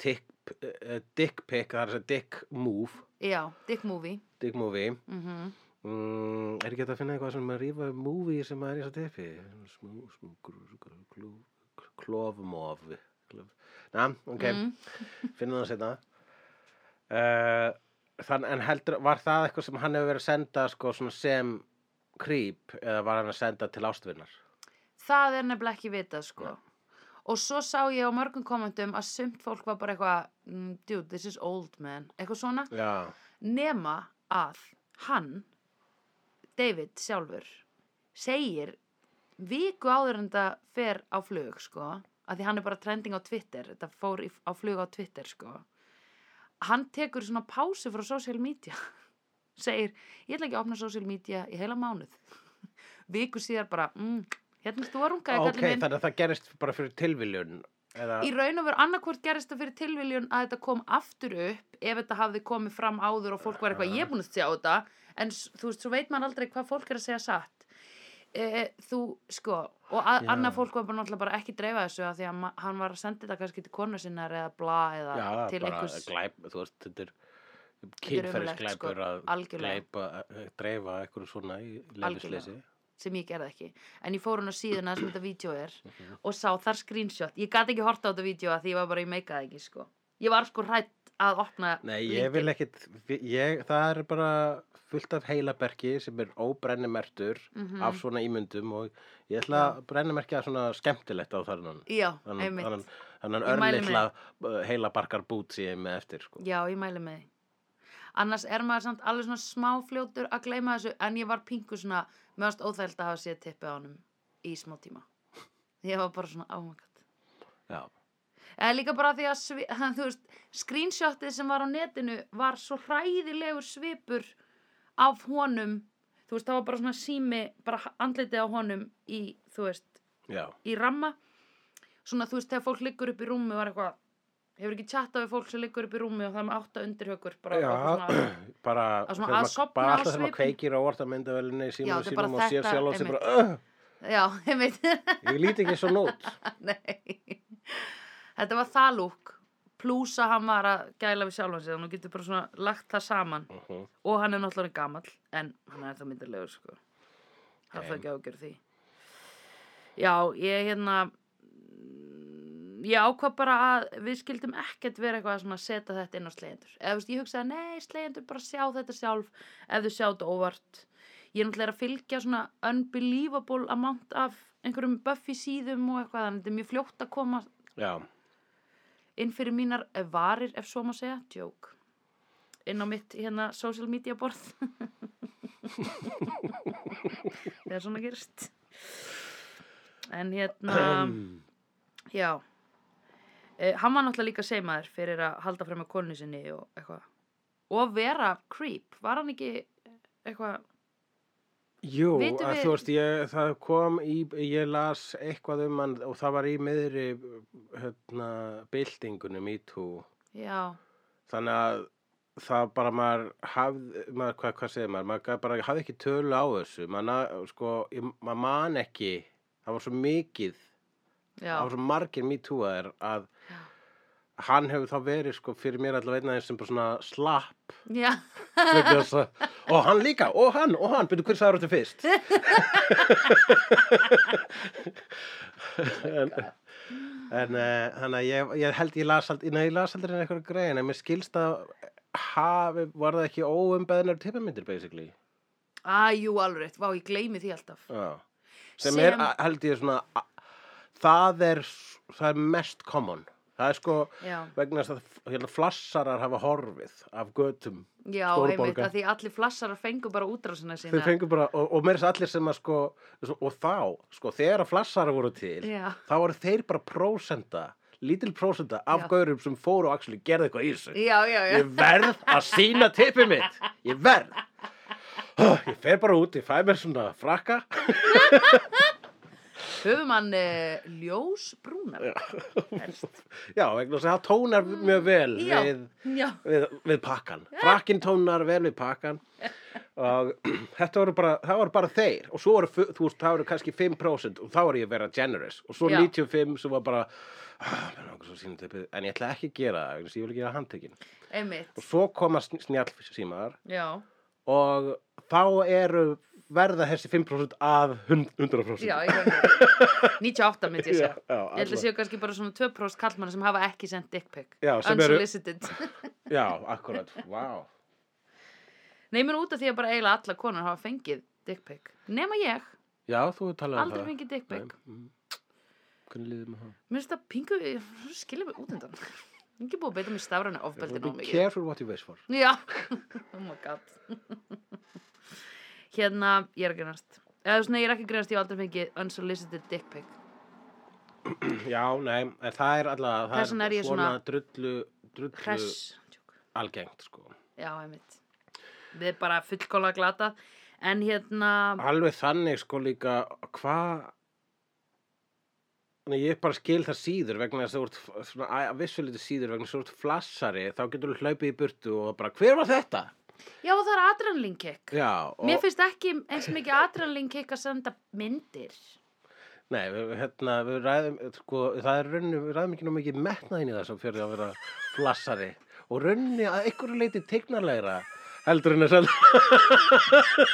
B: tick, uh, dick pick það er þess að dick move
A: já, Dick Movie,
B: dick movie
A: mhm,
B: mm, er ekki hægt að finna eitthvað sem að rífa movie sem að er í þess að tippi smú, smú, grú- grú- klú- klofmof Klof- na, ok,
A: Mm.
B: finna það setna uh, þann, en heldur var það eitthvað sem hann hefur verið að senda sko, svona sem creep eða var hann að senda til ástvinnar
A: það er nefnilega ekki vitað, sko. Og svo sá ég á mörgum kommentum að sumt fólk var bara eitthvað, mm, dude, this is old man, eitthvað svona,
B: já,
A: nema að hann, David sjálfur, segir viku áður en þetta fer á flug, sko, að því hann er bara trending á Twitter, þetta fór í, á flug á Twitter, sko, hann tekur svona pásu frá social media, *laughs* segir, ég ætla ekki að opna social media í heila mánuð. *laughs* viku síðar bara, mm, hérna ertu að runga,
B: ok,
A: kallinn minn.
B: þannig að það gerist bara fyrir tilviljun eða,
A: Í raun og veru annarkvort gerist það fyrir tilviljun að þetta kom aftur upp ef þetta hafði komið fram áður og fólk var eitthvað ég er búin að sjá þetta en s- þú veist, svo veit maður aldrei hvað fólk er að segja satt e, þú, sko og að,
B: Já.
A: annað fólk var bara náttúrulega bara ekki dreifa þessu að því að ma- hann var að senda þetta kannski til konu sinnar eða bla eða
B: já,
A: til
B: bara
A: einhvers
B: glæp, þú veist, þetta er
A: ömurlegt, sko,
B: kynferðisglæpur að
A: algjörlega.
B: glæpa, að dreifa eitthvað svona í leifisleysi
A: sem ég gerði ekki en ég fór hún á síðuna sem þetta vídeo er
B: Mhm.
A: og sá þar screenshot ég gat ekki horta á þetta vídeo að því ég var bara, ég meikaði ekki sko. ég var sko hrætt að opna
B: Nei, ég
A: linkinn.
B: vil ekkit, ég, það er bara fullt af heilaberki sem er óbrennimertur
A: Mhm.
B: af svona ímyndum og ég ætla að brennimerkja svona skemmtilegt á þarnan.
A: Já,
B: Þannig,
A: einmitt.
B: þannig, þannig
A: Ég mæli
B: örlitla heilabarkar bút sem ég er með eftir, sko.
A: Já, ég mæli með því. Annars er maður samt alveg svona smáfljótur að gleyma þessu en ég var pingu svona meðast óþægild að hafa séð tippið á honum í smá tíma. Ég var bara svona ámægat.
B: Já,
A: Eða líka bara því að svi, hann, þú veist, screenshotið sem var á netinu var svo hræðilegur svipur af honum. Þú veist, það var bara svona sími, bara andlitið á honum í, þú veist,
B: já,
A: í ramma. Svona, þú veist, þegar fólk liggur upp í rúmi var eitthvað, hefur ekki tjattað við fólk sem liggur upp í rúmi og það er með átta undirhaukur. bara eitthvað svona-
B: bara,
A: Að svona
B: þegar
A: að
B: maður-
A: sofna
B: bara
A: á
B: alltaf þegar maður
A: svipinn.
B: kveikir á orðamyndavelinni í
A: Já,
B: símanum
A: þetta er bara
B: sínum og sér
A: þetta,
B: sjálf og sér
A: einmitt.
B: bara, "Ugh,
A: Já, *laughs* ég veit,
B: ég lít ekki svo nót.
A: nei. Þetta var það lúk, plús að hann var að gæla við sjálfan sig, þannig að þú getur bara svona lagt það saman
B: Mhm.
A: og hann er náttúrulega gamall, en hann er það myndarlegur, sko. Það
B: Ok.
A: okay. ekki ágjör því. Já, ég hérna, mm, ég ákvað bara að við skildum ekkert vera eitthvað svona að setja þetta inn á slegjendur. Eða, þú veist, ég hugsaði, nei, slegjendur bara sjá þetta sjálf, ef þau sjá þetta óvart. Ég er náttúrulega að fylgja svona unbelievable amount af einhverjum Buffy síðum og eitthvað, þannig að þetta er mjög fljótt að koma
B: Já,
A: inn fyrir mínar varir, ef svo má segja, djók. Inn á mitt hérna social media borð. *laughs* Þegar svona gerist. En
B: *clears throat*
A: hérna, já. Uh, hann var náttúrulega líka seimaður fyrir að halda frem með konu sinni og eitthvað. Og vera creep, var hann ekki eitthvað,
B: Jú,
A: Vitum
B: að
A: við-
B: þú veist, ég, það kom í, ég las eitthvað um hann og það var í miðri hérna, byltingunum í tú.
A: já,
B: Þannig að það bara maður hafði, maður, hvað, hvað segir maður, maður gat bara hafði ekki tölu á þessu. Maður, na- sko, ég- maður man ekki, það var svo mikið,
A: já,
B: það var svo margir me too að er að hann hefur þá verið sko fyrir mér allavega einn aðeins sem bara svona slapp
A: Já,
B: vegna þess að- og hann líka, og hann, og hann, byrju hver sagður þetta fyrst *laughs* en, en uh, hann að ég, ég held ég las aldrei, nei, ég las aldrei en eitthvað grein en mér skilst að hafi, var það ekki óumbeðnar tippamindir basically
A: aðjú alveg, rétt. vá, ég gleymi því alltaf.
B: Já. sem,
A: Sem-
B: er, a- held ég svona a- það er, s- það er mest common það er sko
A: Já,
B: vegna þess að f- hérna, flassarar hafa horfið af götum
A: já
B: Stórborga.
A: einmitt, að því allir flassarar fengu bara útrásina sína.
B: þeir fengur bara, og, og mér er þess að allir sem að sko, og þá, sko, þegar að flassarar voru til,
A: Já.
B: þá voru þeir bara prósenda, lítil prósenda af
A: Já.
B: gaurum sem fóru og actually gerði eitthvað í þessu
A: Já, já, já.
B: ég verð að sína tippið mitt ég verð ég fer bara út, ég fæ mér svona frakka
A: Höfum hann uh, ljósbrúnar.
B: *laughs* já, vegna þess að það tónar mjög vel
A: Já,
B: við,
A: já.
B: við, við pakkan frakkin tónar vel við pakkan og *clears throat* þetta voru bara það voru bara þeir og svo voru, fu- þú veist, það voru kannski 5% og þá voru ég að vera generous og svo
A: Já.
B: 95 sem var bara "Ah, mig langar svo að sýna typið." en ég ætla ekki að gera það vegna þess að ég vil gera handtekinn
A: Einmitt,
B: og svo koma snjallsímar
A: já.
B: og þá eru verða þessi 5% að hund- 100%
A: Já, ég veit.
B: *laughs*
A: 98 myndi ég segja.
B: Já, já,
A: Ég held að
B: allavega.
A: séu kannski bara svona 2% kallmann sem hafa ekki sendt dick pic.
B: Já, sem eru-
A: Unsolicited. *laughs*
B: já, akkurat, vá
A: Nei, menn út af því að bara eiginlega alla konar hafa fengið dick pic. Nema ég,
B: Já, þú talaði
A: aldrei fengið dick pic.
B: Hvernig liðið með það?
A: Mér finnst það pingu, skilja mig út undan. Ég er Ekki búið að beita mér stafræna ofbeldi
B: Be
A: nóg mikið.
B: careful what you wish for
A: Já, *laughs* oh my god. *laughs* hérna, ég er að grænast. Eða svona, ég er ekki að grænast, ég hef aldrei fengið unsolicited dick pic.
B: Já, nei, en það er allavega það
A: Þess vegna er ég svona
B: drullu, drullu
A: Hress. Tjúk.
B: algengt sko.
A: Já, einmitt. Við erum bara fullkóla glata. En hérna,
B: Alveg þannig sko líka hvað Nei, ég bara skil það síður vegna þess að þú ert f- svona að vissuliti síður vegna þess að þú ert flassari þá getur þú hlaupið í burtu og bara hver var þetta?
A: já það er adrenaline kick.
B: Já, og,
A: Mér finnst ekki eins mikið adrenaline kick að senda myndir.
B: nei, við, hérna, við ræðum, sko, það er raunni, við ræðum ekki nú mikið metnaðin í það sem fyrir að vera flassari og raunni að einhverju leiti tegnarlegra heldur en að selja.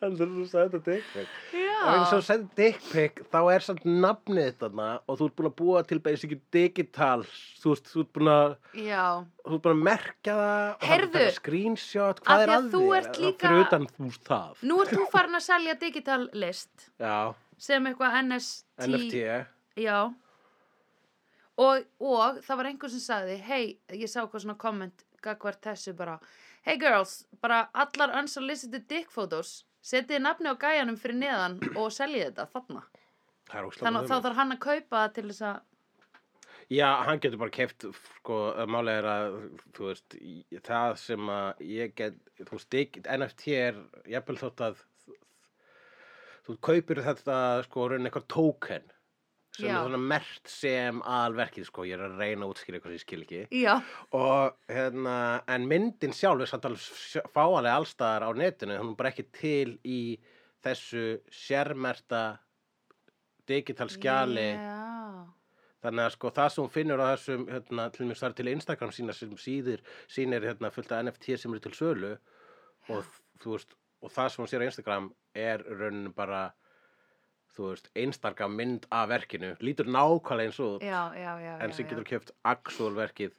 B: heldur en að segja þetta dickpick. Og eins og
A: Já,
B: þú segir dickpick, þá er samt nafnið þarna og þú ert búin að búa til basic digital, þú veist, þú ert búin að,
A: já,
B: þú ert búin að merkja það og það er
A: Heyrðu,
B: að taka screenshot, hvað
A: af
B: er
A: því að
B: að
A: þú
B: þér?
A: ert
B: Það
A: líka-
B: Fyrir utan þú það.
A: nú ert þú farin að selja digital list
B: Já.
A: sem eitthvað NST.
B: NFT
A: Já. Og, og það var einhver sem sagði, hei, ég sá eitthvað svona komment gagvart þessu bara, hey girls, bara allar unsolicited dick photos, setiði nafni á gæjanum fyrir neðan og seljiði þetta þarna.
B: Það er óslega
A: Þannig að þá þarf hann að kaupa það til þess að,
B: Já, hann getur bara keft sko, málega er að þú veist, í- það sem að ég get, þú veist, dig, NFT er jafnvel þótt að þú kaupir þetta sko raun eitthvað token sem
A: Já.
B: er svona mert sem alverkið sko, ég er að reyna að útskýra eitthvað sem ég skil ekki
A: já,
B: og hérna, en myndin sjálf er samt alveg fáalega allstaðar á netinu, hún er bara ekki til í þessu sérmerta digital skjali
A: Já,
B: Þannig að sko það sem hún finnur á þessum, hérna, til mér þar til Instagram sína sem síðir, sínir hérna fullt af NFT sem eru til sölu og þú veist, og það sem hún sér á Instagram er rauninu bara, þú veist, Instagram mynd af verkinu, lítur nákvæmlega eins út,
A: já, já, já.
B: en
A: já,
B: sem
A: já.
B: getur kjöft actual verkið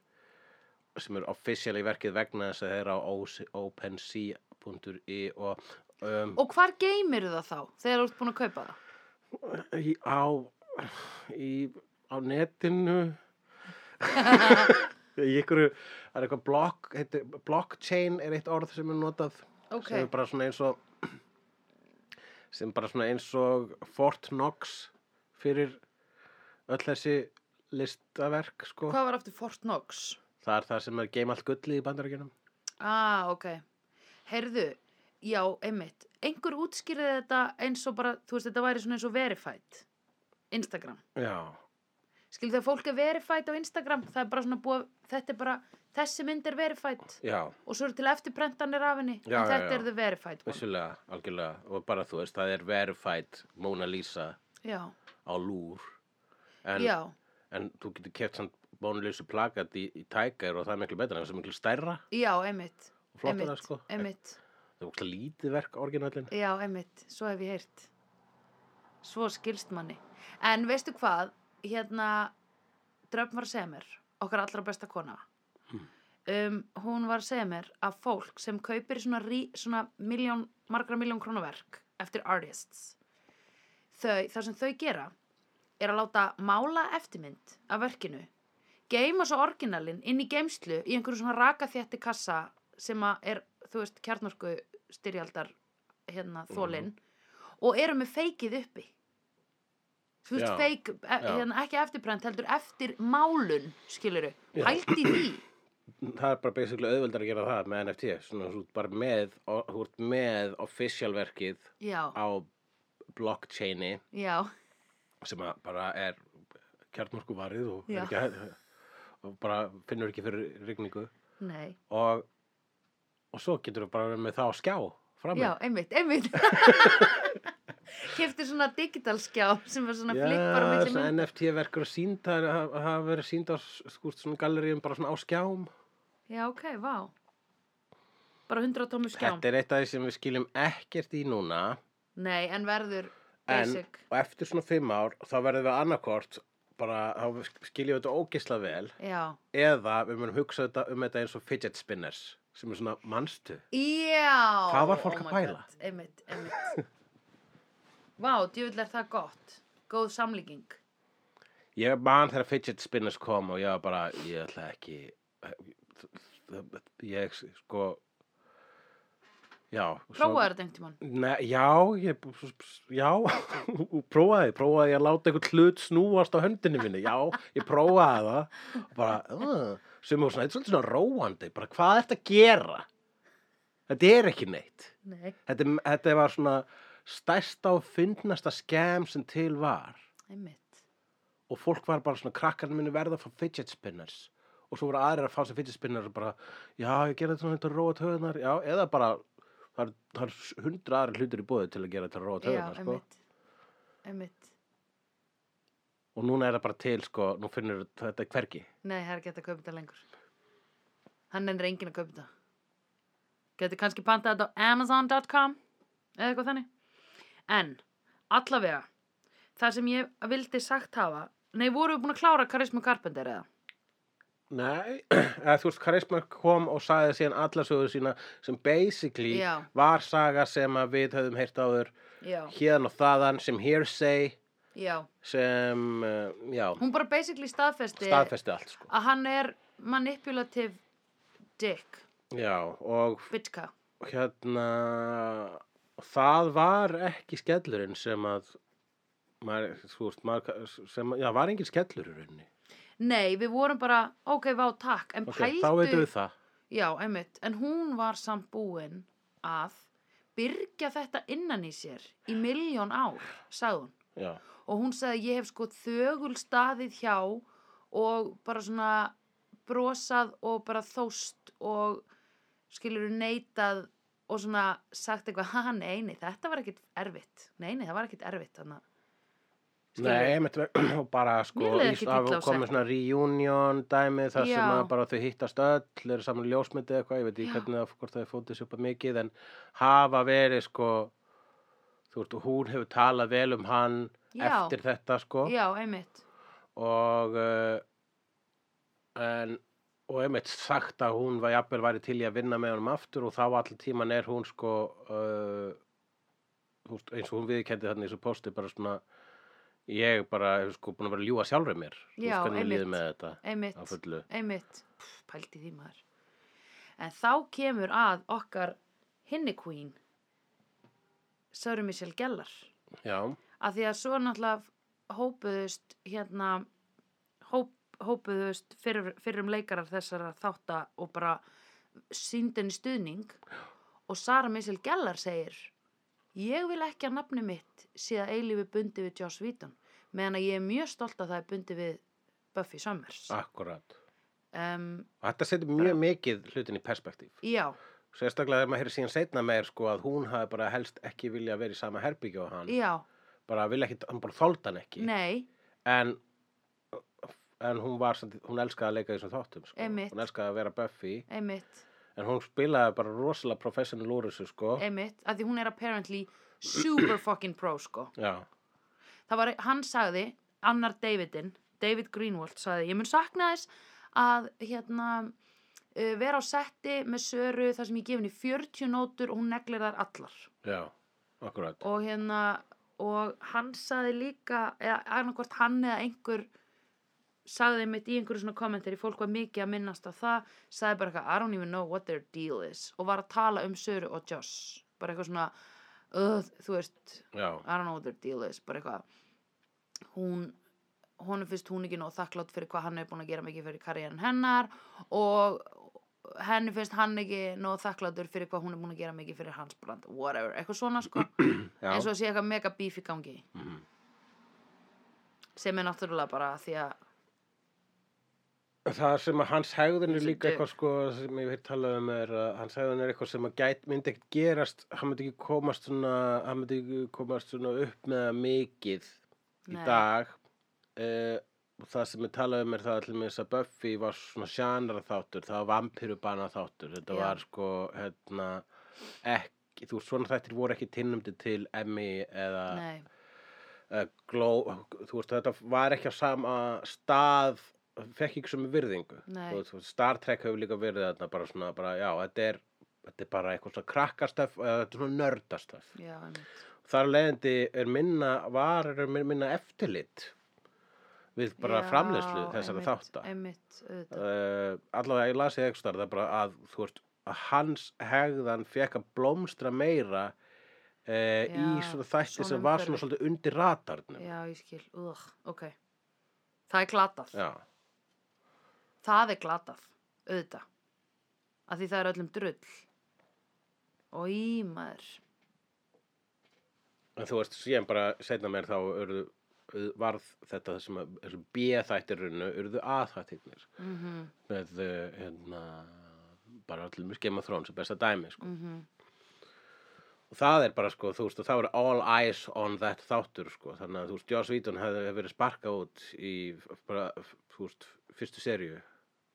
B: sem er officially verkið vegna þess að það er á OC- OpenSea.i E og um,
A: Og hvar geymir það þá, þegar þú ert búin að kaupa það?
B: í, á, í, á netinu í ykkur það er eitthvað block, heitir, blockchain er eitt orð sem er notað
A: Ok.
B: sem er bara svona eins og sem bara svona eins og Fort Knox fyrir öll þessi listaverk sko.
A: Hvað var aftur Fort Knox?
B: það er það sem er geim allt gullið í bandarækjunum
A: Ah, ok. Heyrðu, já, einmitt. Einhver útskýrði þetta eins og bara, þú veist, þetta væri svona eins og verified. Instagram.
B: já,
A: Skilur þegar fólk er verified á Instagram, það er bara svona búið, þetta er bara, þessi mynd er verified
B: já,
A: og svo eru til eftirprentanir af henni,
B: Já,
A: en
B: já,
A: þetta
B: já.
A: er the verified one.
B: vissulega, algjörlega og bara þú veist, það er verified Mona Lisa
A: Já,
B: á lúr en,
A: já,
B: en þú getur keft samt bónleysu plakat í, í tækær og það er miklu betra en það er miklu stærra
A: já, einmitt
B: og flottara
A: einmitt,
B: sko
A: einmitt,
B: það er ókslega lítið verk orginallin
A: já, einmitt, svo hef ég heyrt svo skilst manni en veistu hvað, hérna Dröfn var að segja mér okkar allra besta kona um, hún var að segja mér að fólk sem kaupir svona, rí, svona miljón, margra miljón krónaverk eftir artists þau, það sem þau gera er að láta mála eftirmynd af verkinu geima svo orginalinn inn í geimslu í einhverju svona raka þétti kassa sem að er, þú veist, kjarnorku styrjaldar hérna þólinn og eru með feikið uppi þú veist,
B: Já,
A: feik e,
B: já.
A: hérna, ekki eftirprent, heldur eftir málun skiluru,
B: Já.
A: pælti
B: *clears throat*
A: því
B: það er bara basically auðveldar að gera það með NFT svona þú ert bara með og- þú ert með official verkið
A: já,
B: á blockchaini
A: já,
B: sem að bara er kjarnorku varið og, er
A: Já.
B: ekki, hæ- og bara finnur ekki fyrir rigningu
A: nei
B: og, og svo getur við bara verið með það á skjá frammi
A: já, einmitt, einmitt
B: *laughs*
A: kefti svona digitalskjá sem var svona
B: Já,
A: flippar á milli
B: svona
A: mynd
B: NFT verkur sínd það er- það hafa verið sínd á skúst svona galleríum bara svona á skjám
A: já, ok, vá bara 100 tómu skjám
B: þetta er eitt af því sem við skiljum ekkert í núna
A: nei, en verður
B: en
A: basic
B: og eftir svona fimm ár þá verðum við annarkort bara þá skiljum við þetta ógisla vel
A: já,
B: eða við munum hugsa þetta um þetta eins og fidget spinners sem er svona mannstu
A: já
B: Hvað var fólk
A: oh
B: að
A: my
B: pæla?
A: God, einmitt, einmitt vá, djúvill er það gott góð samlíking
B: Ég man þegar fidget spinners kom og ég var bara, ég ætla ekki, ég sko, já. svo-
A: prófaður þetta einhvern tímann
B: Nei, já, ég, já, *laughs* prófaði, prófaði að láta einhvern hlut snúast á höndinni minni, já, ég prófaði það, og bara, uh, sem var svona, þetta er svolítið svona róandi, bara hvað er þetta að gera? Þetta er ekki neitt.
A: nei,
B: Þetta, þetta var svona stærsta og fyndnasta skem sem til var
A: einmitt
B: og fólk var bara svona krakkarnir minni verða að fá fidget spinners og svo voru aðrir að fá sér fidget spinners og bara, já, ég gerði þetta svona þetta róa töðunar, já, eða bara það eru- það eru hundra aðri hlutir í búið til að gera þetta róa
A: já,
B: töðunar, sko
A: einmitt einmitt
B: og núna er það bara til, sko, nú finnur þetta hvergi
A: Nei, það er ekki hægt að kaupa þetta lengur. Hann ennir enginn að kaupa þetta. Getur kannski pantað þetta á Amazon.com eða eitthvað þannig. En, allavega, það sem ég vildi sagt hafa, nei, vorum við búin að klára Karismu Carpenter eða?
B: Nei, *clears throat* eða, þú veist, Karisma kom og sagði síðan alla sögur sína sem basically
A: Já.
B: var saga sem að við höfum heyrt áður
A: Já,
B: hérðan og þaðan sem hearsay
A: já.
B: sem, uh, já,
A: Hún bara basically staðfesti,
B: staðfesti allt, sko
A: að hann er manipulative dick,
B: Já, og
A: bitchka.
B: hérna það var ekki skellurinn sem að maður, þú veist, maður, sem, já, var engin skellur í rauninni.
A: Nei, við vorum bara, ok, vá, takk, en
B: Ok,
A: pældu...
B: þá veitum við það.
A: Já, einmitt, en hún var samt búin að byrgja þetta innan í sér í miljón ár, sagði hún.
B: Já,
A: Og hún sagði, ég hef sko þögul staðið hjá og bara svona brosað og bara þóst og skilur neitað og svona sagt eitthvað, ha, nei, nei, þetta var ekkit erfitt. Nei, nei, það var ekkit erfitt, þannig að,
B: nei, einmitt, *clears throat* og bara sko,
A: Mér leið
B: í-
A: ekkit illa
B: það
A: á
B: komið
A: sekk.
B: svona reunion dæmi þar
A: Já.
B: sem að bara þau hittast öll, eru saman í ljósmyndi eða eitthvað, ég veit
A: Já.
B: ekki hvernig það, hvort það er fótið sér upp að mikið, en hafa verið sko, þú veist, og hún hefur talað vel um hann
A: Já.
B: eftir þetta sko.
A: já, einmitt,
B: og uh, en, og einmitt sagt að hún var jafnvel væri til í að vinna með honum aftur og þá allir tíman er hún sko uh, þú veist, eins og hún viðkendi þarna í þessu posti bara svona ég bara hef sko búin að vera að ljúga sjálfri mér
A: Já,
B: þú veist hvernig mér
A: einmitt.
B: líður með þetta á
A: einmitt.
B: fullu
A: einmitt, Pff, pældi því maður en þá kemur að okkar hinni queen Söru Michelle Gellar
B: já,
A: af því að svo náttúrulega hópuðust hérna hóp, hópuðust fyrir, fyrir um leikarar þessara þátta og bara síndin stuðning og Sara Michelle Gellar segir ég vil ekki að nafni mitt sé að eilífi bundi við Joss Whedon meðan að ég er mjög stolt að það er bundi við Buffy Summers
B: Ah. akkurat
A: um,
B: og þetta setur mjög mikið hlutin í perspektíf
A: Já,
B: sérstaklega þegar maður heyrir síðan setna meir sko að hún hafi bara helst ekki vilja verið í sama herbyggju á hann
A: já,
B: bara vilja ekki, hann bara þóldi hann ekki
A: nei,
B: en en hún, var, samt- hún elskaði að leika í þessum þáttum sko.
A: Einmitt.
B: hún elskaði að vera Buffy
A: einmitt,
B: en hún spilaði bara rosalega professional úr þessu sko.
A: einmitt, að því hún er apparently super fucking pro sko.
B: já,
A: það var, hann sagði, annar Davidin, David Greenwald sagði, ég mun sakna þess að hérna uh, vera á setti með Söru þar sem ég gef henni 40 nótur og hún neglir þar allar
B: já, akkurat
A: og hérna og hann sagði líka eða annarkvort hann eða einhver sagði mitt í einhverju svona kommentari fólk var mikið að minnast á það sagði bara eitthvað, I don't even know what their deal is og var að tala um Söru og Joss bara eitthvað svona uh, þú veist,
B: já,
A: I don't know what their deal is bara eitthvað hún, honum finnst hún ekki nóg þakklátt fyrir hvað hann er búin að gera mikið fyrir karriérin hennar og henni finnst hann ekki nóg þakkláttur fyrir hvað hún er búin að gera mikið fyrir hans brand whatever, eitthvað svona sko
B: já,
A: eins og að sé eitthvað mega bíf í gangi
B: Mhm.
A: sem er náttúrulega bara því að
B: það sem að hans hegðun er
A: Sem
B: líka
A: dug.
B: eitthvað sko, sem ég hef talað um er að hans hegðun er eitthvað sem að gæt, myndi ekkert gerast hann myndi ekki komast svona hann myndi ekki komast svona upp með það mikið í
A: Nei.
B: dag uh, það sem ég talað um er það allir með þess að Buffy var svona sjanra þáttur það var vampirubana þáttur þetta
A: Já.
B: var sko hérna, ekki, þú veist svona þættir voru ekki tinnumdi til Emmy eða
A: nei,
B: uh, gló, þú veist, þetta var ekki á sama stað, fekk ekki sem virðingu.
A: Nei.
B: Þú veist, þú veist, Star Trek hefur líka verið þarna bara svona, bara, já, þetta er, þetta er bara eitthvað svona krakkastöf, eða þetta er svona nördastöf.
A: já, einmitt
B: Þar af leiðandi er minna, var er minna eftirlit við bara
A: Já,
B: framleiðslu þessara
A: einmitt,
B: þátta.
A: einmitt, auðvitað,
B: Uh, allavega, ég lasi eitthvað starf það bara að, þú veist, að hans hegðan fekk að blómstra meira Uh, í
A: Já,
B: svona þætti
A: svona
B: sem var svona
A: umhverfi.
B: svolítið undir ratarnum
A: já, ég skil, ugh, ok það er glatað
B: Já,
A: það er glatað, auðvitað af því það er öllum drull og ímaður
B: en þú veist, síðan bara setna mér þá urðu, urðu- varð þetta sem að þessu B-þættirinu urðu A-þættirnir
A: mm -hmm,
B: með eh, hérna bara allir mjög Game of Thrones og besta dæmi sko.
A: mm
B: og það er bara sko, þú veist, og það voru all eyes on that þáttur sko. þannig að þú veist, Joss Whedon hefði hefði verið sparkað út í bara, þú veist, fyrstu serju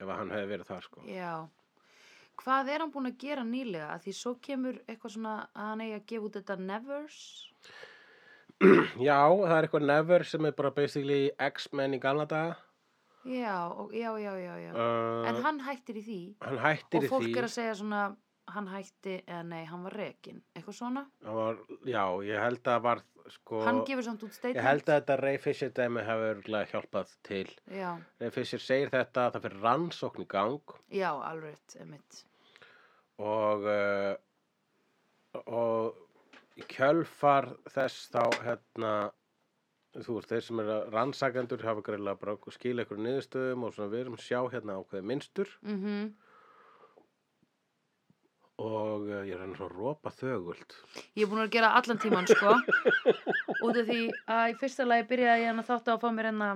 B: ef að hann hefði verið þar sko.
A: já hvað er hann búin að gera nýlega af því svo kemur eitthvað svona að hann eigi að gefa út þetta Nevers
B: Já, það er eitthvað Never sem er bara basically X-Men í gamla daga
A: já, og, já, já, já, já en
B: uh,
A: hann hættir í því
B: hann hættir
A: og
B: í
A: fólk
B: því
A: er að segja svona hann hætti, eða nei, hann var rekin eitthvað svona,
B: hann var, Já, ég held að var sko,
A: hann gefur samt út statement
B: Ég held að þetta Ray Fisher dæmi hafi örgulega hjálpað til.
A: já,
B: Ray Fisher segir þetta að það fyrir rannsókn í gang
A: já, alveg rétt, einmitt
B: og, uh, og í kjölfar þess þá hérna þú veist, þeir sem eru rannsakendur hafa greiðlega bara skil ykkur niðurstöðum og svona við erum að sjá hérna ákveði minnstur
A: mm
B: og uh, ég er hann svo ropa þögult
A: ég er búin að gera allan tíman,
B: *laughs*
A: sko út af því að í fyrsta lagi byrjaði ég hann að þátt á að fá mér enna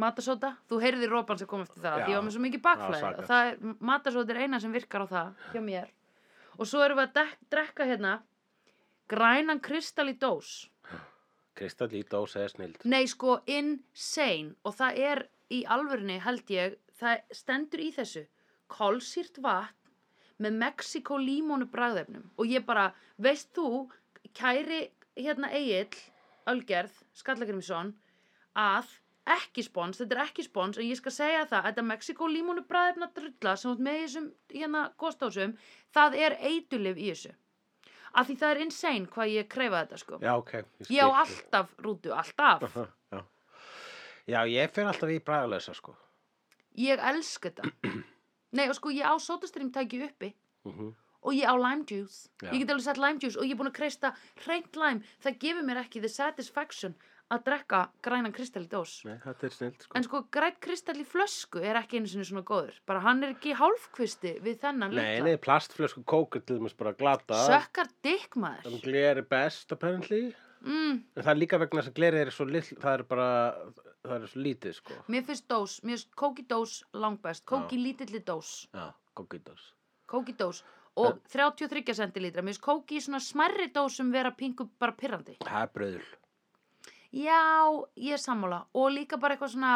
A: matasóta, þú heyrði rópan sem kom eftir það
B: Já.
A: því ég var með svo mikið
B: Það var
A: bakflæði
B: saklegt.
A: og það er, matasóta er eina sem virkar á það hjá mér og svo erum við að dek, drekka hérna grænan kristall í dós
B: Kristall í dós eða snild
A: Nei, sko, insane og það er í alvörinni, held ég, það stendur í þessu kolsýrt vatn með Mexiko límónu bragðefnum og ég bara, veist þú, kæri hérna Egil, Ölgerð, Skallagrimsson, að ekki spons, þetta er ekki spons en ég skal segja það, þetta Mexiko límónu bragðefna drulla sem út með í þessum hérna góðstásum, það er eitulif í þessu. Af því það er insane hvað ég kreifa þetta sko.
B: Já, ok.
A: Ég á
B: skil.
A: alltaf rútu, alltaf.
B: Já. Já, ég fyrir alltaf í bræðalösa sko.
A: Ég elska þetta. *clears throat* Nei, og sko, ég á sótastream tæki uppi
B: Mm
A: og ég á lime juice.
B: Já.
A: Ég get alveg sett lime juice og ég er búin að kreista hreint lime. Það gefur mér ekki the satisfaction að drekka grænan kristall í dós.
B: Nei, þetta er snild sko.
A: En sko, græn kristall í flösku er ekki einu sinni svona góður. Bara hann er ekki hálfkvisti við þennan
B: Nei, nei, plastflösku kók er til dæmis bara glata.
A: Sökkar dikk
B: Það
A: maður.
B: gler er best, apparently.
A: Mm.
B: En það er líka vegna þess að gler er svo lill, það er bara, það er svo lítið, sko.
A: Mér finnst dós, mér finnst kóki dós langbæst. Kóki lítilli dós.
B: Já, kókítós.
A: Kóki dós. Og 33 centilítra. Mér finnst kóki í svona smerri dósum vera pingu bara pirrandi.
B: Það er bröðul.
A: Já, ég er sammála og líka bara eitthvað svona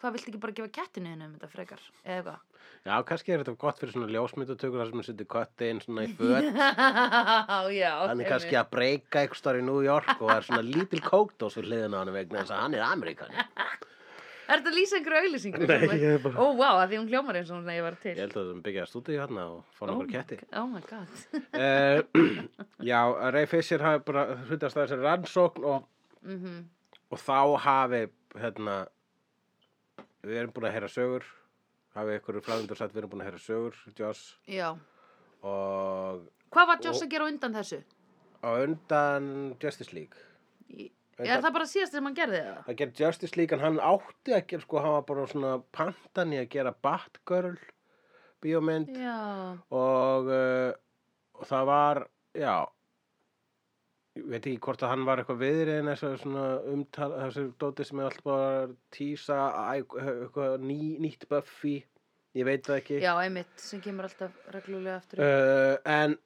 A: hvað viltu ekki bara gefa kettinu hennum þetta frekar, eða eitthvað *laughs*
B: Já, kannski er þetta gott fyrir svona ljósmyndatökur þar sem við setjum köttin svona í föt
A: já, já
B: Hann er kannski að breyka eitthvað star í New York og er svona lítil kókdós við hliðina á hann vegna þess að hann er amerikani.
A: Er þetta að lýsa einhverju
B: *laughs*
A: auðlýsingu?
B: Nei, ég er bara-
A: Ó, vá, að því hún hljómar eins og hún ég var til
B: Ég held að það byggja að stúdíu hérna og fá nokkur ketti.
A: Oh my god *laughs*
B: Uh, *clears throat* já, Ray Fisher hafi bara hlutast að þessari rannsókn og,
A: mm
B: og þá hafi, hérna, við erum búin að heyra sögur, hafi einhverju flagundur sagt við erum búin að heyra sögur, Joss,
A: Já
B: og
A: Hvað var Joss
B: Og-
A: að gera á undan þessu?
B: á undan Justice League.
A: Í-
B: Undan-
A: Er það bara síðast sem hann gerði það?
B: Það gerði Justice League en hann átti að gera, sko, hann var bara svona pantan í að gera Batgirl bíómynd.
A: Já
B: og, uh, og það var, já, ég veit ekki hvort að hann var eitthvað viðri en þessu svona umtal, þessu dóti sem er alltaf bara að tísa, æ, eitthvað ný, nýtt Buffy, ég veit það ekki.
A: Já, einmitt, sem kemur alltaf reglulega aftur upp.
B: Uh, en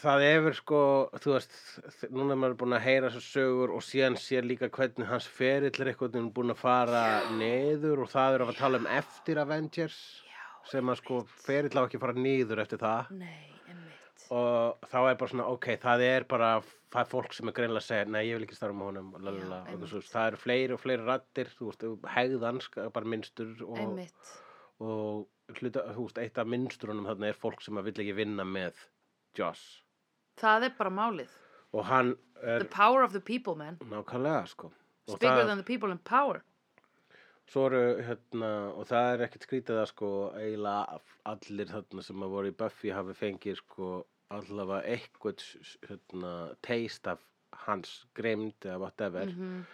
B: það hefur sko, þú veist, þ- núna er maður búin að heyra þessu sögur og síðan sér líka hvernig hans ferill er eitthvað búin að fara niður og það er að tala um eftir Avengers
A: Já,
B: sem að sko ferill á ekki að fara niður eftir það.
A: nei, einmitt
B: og þá er bara svona, ok, það er bara það er fólk sem er greinlega að segja, nei, ég vil ekki starfa með honum,
A: Já,
B: lalala, og
A: einmitt.
B: þú veist, það eru fleiri og fleiri rattir, þú veist, hegðansk bara minnstur og,
A: Einmitt,
B: og hluta, þú veist, eitt af minnstrunum þarna er fólk sem að vill ekki vinna með Joss,
A: það er bara málið
B: og hann
A: The
B: er
A: power of the people, man
B: nákvæmlega, sko
A: It's
B: og
A: bigger
B: það,
A: than the people in power
B: svo eru, hérna, og það er ekkert skrítið að sko, eiginlega allir þarna sem að voru í Buffy hafi fengið, sko, allavega eitthvað, hérna, teist af hans grimd eða whatever
A: mm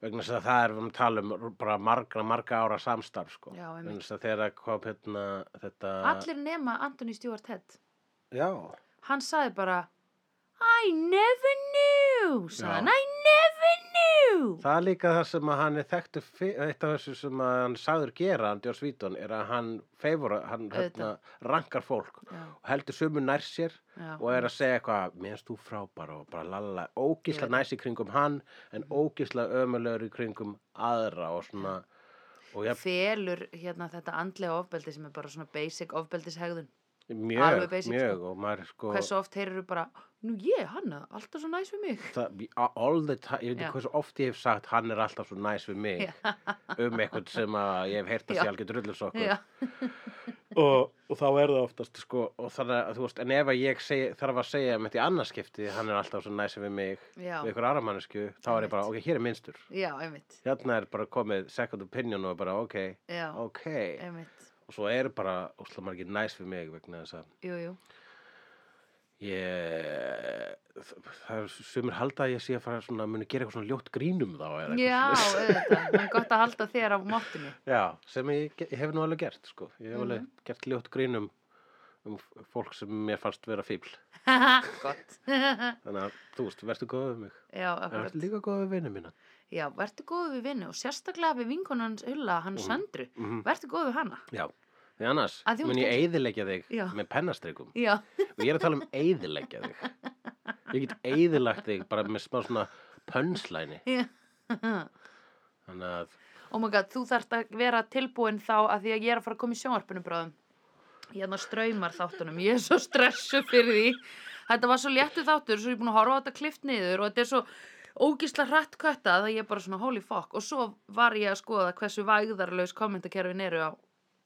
B: vegna þess að það er við erum að tala um bara margra, margra ára samstarf sko.
A: Já, einmitt.
B: vegna þess að þegar að kom hérna þetta
A: Allir nema Anthony Stewart Head
B: já,
A: Hann sagði bara I never knew
B: Já.
A: sagði hann, I never knew
B: það er líka það sem að hann er þekktu eitt af þessu sem að hann sagður gera hann Djós Vítón er að hann favora, hann hérna, rankar fólk
A: Já,
B: og heldur sumu nær sér
A: já,
B: og er að segja eitthvað, minnst þú frábara og bara lalala,
A: Ég
B: ógísla
A: veit.
B: næs í kringum hann
A: Mhm.
B: en ógísla ömulegur í kringum aðra og svona og ég
A: felur hérna þetta andlega ofbeldi sem er bara svona basic ofbeldishegðun
B: mjög,
A: alveg basic,
B: mjög og maður sko
A: hversu oft heyrir þú bara nú ég, hanna, alltaf svo næs við mig
B: það, all the time, ég veit
A: Já.
B: ekki hversu oft ég hef sagt hann er alltaf svo næs við mig um eitthvað sem að ég hef heyrt að
A: Já.
B: sé algjör drullusokkur
A: já,
B: og, og þá er það oftast sko, og þannig að þú veist, en ef að ég seg, þarf að segja um með því annarskipti, hann er alltaf svo næs við mig
A: já,
B: við ykkur aðra mannesku, þá er ég bara, ok, hér er minnstur
A: já, einmitt
B: hérna er bara komið second opinion og bara, ok,
A: já,
B: ok
A: einmitt,
B: og svo er bara, ósla margir næs við mig vegna þess að
A: jú, jú
B: ég það er sumir halda að ég sé að fara svona, muni gera eitthvað svona ljótt grínum þá eða eitthvað
A: já,
B: svoleiðis.
A: auðvitað, það er gott að halda þér á mottinu
B: *laughs* Já, sem ég, ge- ég hef nú alveg gert, sko. Ég hef
A: Mhm.
B: alveg gert ljótt grínum um f- fólk sem mér fannst vera fíbl.
A: gott, *laughs*
B: Þannig að, þú veist, verður góð við mig.
A: já,
B: En
A: akkurat
B: verður líka góð við vinnu mína.
A: já, verður góð við vinnu og sérstaklega við vinkonans Ulla, hann
B: Mhm.
A: Söndru
B: Mm
A: verður góð við hana
B: Já, því annars
A: Að því hún
B: mun ég
A: kemst-
B: eiðileggja þig
A: Já.
B: með pennastrikum.
A: já,
B: Og ég er að tala um eiðileggja þig. Ég get eiðilagt þig bara með smá svona pönslæni.
A: já
B: Þannig að,
A: Oh my god, þú þarft að vera tilbúin þá að því að ég er að fara að koma í sjónvarpinu bráðum. Hérna ströymar þáttunum, ég er svo stressuð fyrir því. Þetta var svo léttu þáttur, svo ég er búin að horfa á þetta klift niður og þetta er svo ógísla hratt köttað að ég er bara svona holy fuck. Og svo var ég að skoða hversu vægðarlaus kommentakerfin eru á,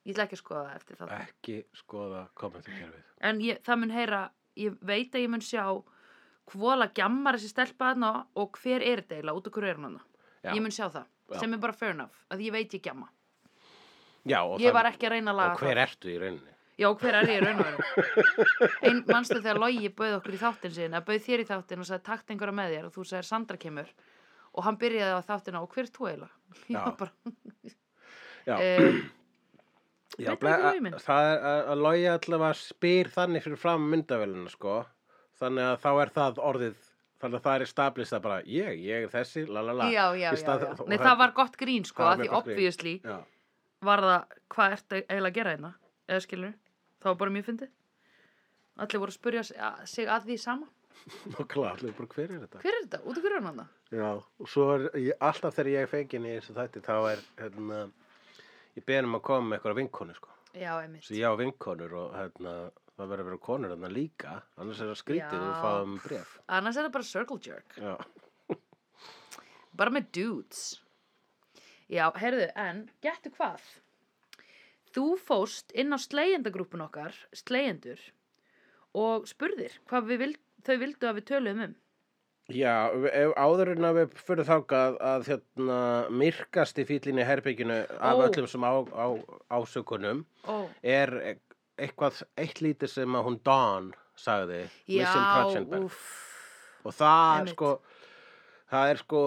A: ég ætla ekki að skoða það eftir þáttunum.
B: ekki skoða kommentarkerfið.
A: En ég, það mun heyra, ég veit að ég mun sjá hvóla gjammar þessi stelpa þarna og hver er þetta eiginlega, út og hverju er hann þarna.
B: Já.
A: Ég mun sjá það,
B: Já.
A: sem er bara fair enough, að ég veit ég gjamma.
B: Já, og,
A: Ég
B: það-
A: var ekki að reyna að laga
B: og hver ertu í rauninni?
A: Já, hver er ég raun
B: *laughs*
A: og veru? Einn mannstu þegar Logi bauð okkur í þáttin sinna, bauð þér í þáttin og sagði takt einhverja með þér og þú sagði Sandra kemur og hann byrjaði á þáttina og hver er þú eiginlega? *laughs* Ég var
B: Já.
A: bara,
B: Já.
A: uh,
B: *clears throat* Já,
A: Veit það
B: ble,
A: ekki
B: að,
A: lögin mín?
B: það er að, að logi allavega spyr þannig fyrir fram myndavélina sko þannig að þá er það orðið þannig að það er stablist að bara ég, ég er þessi, la la la
A: já, já,
B: Í
A: já,
B: stað-
A: já.
B: og
A: Nei,
B: það-
A: það var gott grín sko,
B: Það var
A: af því
B: mjög gott grín.
A: obviously
B: Já. *laughs*
A: var það, hvað ertu eiginlega að gera hérna? Eða skilur, það var bara mjög fyndið. Allir voru að spurja sig- að- sig að því sama.
B: Nákvæmlega, allir bara hver er þetta?
A: Hver er þetta? Út af hverju er hann það?
B: Já, og svo er ég, alltaf þegar ég er fengin í þessu þætti þá er hérna, ég beðin um að koma með eitthvað vinkonu sko.
A: já, einmitt
B: svo ég á vinkonur og hérna, það verður að vera konur þarna líka annars er það skrítið og
A: Já.
B: fáum bref
A: annars er það bara circle jerk
B: já,
A: bara með dudes já, heyrðu, en gettu hvað þú fóst inn á slegjendagrúpun okkar slegjendur og spurðir hvað við vild, þau vildu að við töluðum um
B: já ef- ef áður en að við fyrir þákað að hérna, myrkasti fíllinn í herbygginu af
A: Ó.
B: öllum sem á, á, ásökunum
A: ó,
B: er e- eitthvað eitt lítið sem að hún Dawn sagði
A: já,
B: Michelle Trachtenberg.
A: úff
B: og það
A: Einmitt.
B: sko það er sko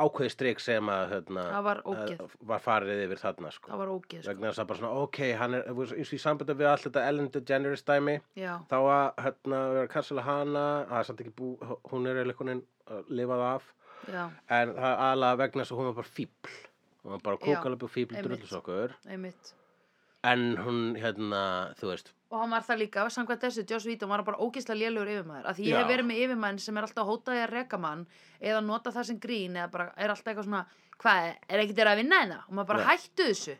B: ákveði strik sem að hérna,
A: það var
B: að-
A: ógeð,
B: var farið yfir þarna sko
A: það var ógeð sko.
B: vegna þess að bara svona ok hann er eins og í sambandi við allt þetta Ellen DeGeneres dæmi
A: já,
B: þá að hérna við erum að kassala hana það er samt ekki bú hún er eða einhvern veginn að lifað af
A: já,
B: en það er aðlega vegna þess að hún var bara fíbl hún var bara
A: Já,
B: kókalöp og fíbl
A: einmitt.
B: drullusokkur
A: einmitt
B: en hún hérna þú veist
A: og hann var það líka, samkvæmt þessu, Joss Vítum var hann bara ógeðslega lélugur yfirmaður, af því ég
B: Já.
A: hef verið með yfirmann sem er alltaf að hóta því að reka mann eða nota það sem grín eða bara er alltaf eitthvað svona, hvað, er ekkert þeirra að vinna hérna og maður bara
B: Nei.
A: hættu þessu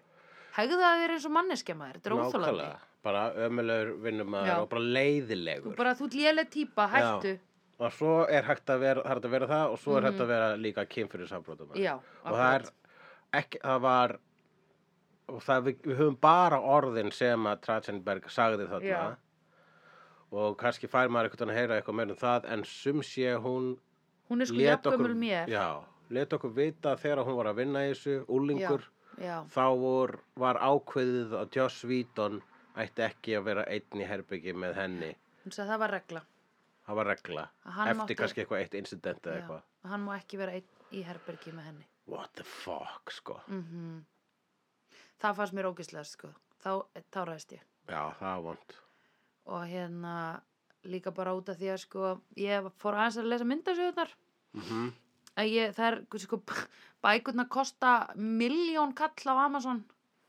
A: hegðu það þér eins og manneskja maður, þetta er óþólandi
B: nákvæmlega, bara ömulegur vinnumæður
A: Já.
B: og bara leiðilegur
A: þú bara, þú ert léleg típa, hættu já,
B: og svo er hægt að vera, hægt að vera það og svo er
A: Mhm.
B: hægt að vera líka kynfyrirsafbrotum og það er
A: akkurat.
B: ekki, það var og það við, við höfum bara orðin sem að Trachenberg sagði þarna
A: Já.
B: og kannski fær maður eitthvað að heyra eitthvað meir um það en sum sé hún
A: hún er sko
B: lét okkur,
A: jafnkvömmul mér já,
B: já, let okkur vita þegar hún var að vinna í þessu, úlingur
A: já,
B: þá vor, var ákveðið að Joss Whedon ætti ekki að vera einn í herbyggi með henni
A: hún sagði það var regla
B: það var regla,
A: Að hann
B: eftir
A: mátti-
B: kannski eitthvað eitt incident eða
A: Já,
B: eitthvað
A: að hann má ekki vera einn í herbergi með henni
B: what the fuck, sko
A: mm það fannst mér ógeðslega sko, þá, þá ræðist ég
B: já, það er vond
A: og hérna líka bara út af því að sko ég fór aðeins að lesa myndasögurnar
B: mm -hmm.
A: að ég, það er sko *laughs* bækurnar kosta miljón kall á Amazon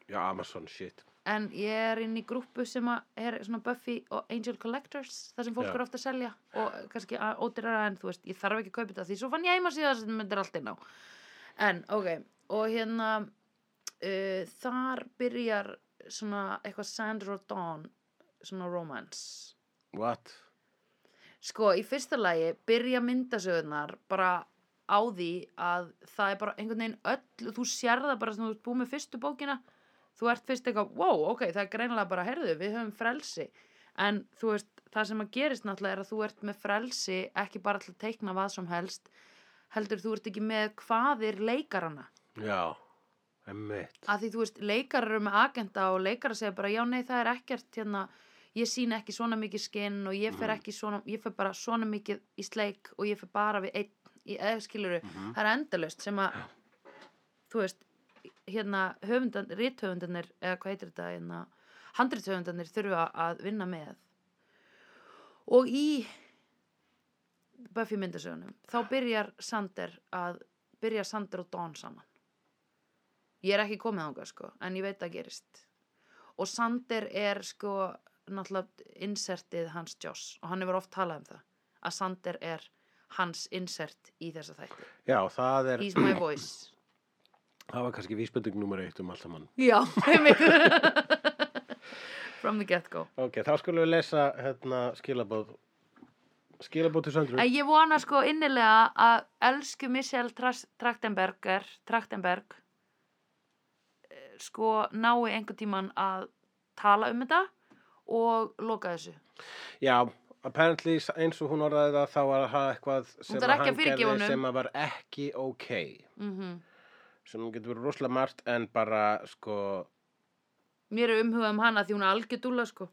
B: já, Amazon shit
A: en ég er inn í grúpu sem að er svona Buffy og Angel Collectors þar sem fólk
B: Já.
A: er ofta að selja og kannski að- ódýrara en þú veist, ég þarf ekki að kaupa þetta því svo fann ég heima síðan sem myndir allt inn á en ok, og hérna uh, þar byrjar svona eitthvað Sandra Dawn svona romance
B: what?
A: Sko, í fyrsta lagi byrja myndasögurnar bara á því að það er bara einhvern veginn öll, þú sér það bara sem þú ert búið með fyrstu bókina, þú ert fyrst eitthvað, wow, ok, það er greinilega bara, heyrðu, við höfum frelsi, en þú veist, það sem að gerist náttúrulega er að þú ert með frelsi, ekki bara til að teikna hvað sem helst, heldur þú ert ekki með hvaðir leikarana,
B: já, emmitt
A: að því þú veist, leikarar eru með agenda og leikarar segja bara, já nei það er ekkert hérna, ég sína ekki svona mikið skinn og ég fer
B: Mhm.
A: ekki svona, ég fer bara svona mikið í sleik og ég fer bara við einn, í eða skiluru,
B: Mhm.
A: það er endalaust sem að, þú veist, hérna, höfundan, rithöfundanir, eða hvað heitir þetta, hérna, handrithöfundanir þurfa að vinna með og í Buffy myndasögunum, þá byrjar Sander að, byrjar Sander og Dawn saman Ég er ekki komið ánga sko, en ég veit að gerist. Og Sander er sko náttúrulega insertið hans Joss og hann hefur oft talað um það. Að Sander er hans insert í þessa þætti.
B: já, það er,
A: He's my voice.
B: það var kannski vísbending nummer eitt um allt saman
A: Já, einmitt. From the get-go.
B: ok, þá skulum við lesa hérna skilabóð skilabóð til söndru
A: En ég vona sko innilega að elsku Michelle Tras- Trachtenberger, Trachtenberg eh, sko nái einhvern tíman að tala um þetta og loka þessu.
B: já, apparently eins og hún orðaði það þá var það eitthvað sem
A: þarf ekki
B: að
A: að
B: hann
A: fyrirgefa honum.
B: gerði sem að var ekki ok
A: Mhm.
B: sem getur verið rosalega margt en bara sko
A: Mér er umhugað um hana því hún er algjör dúlla sko.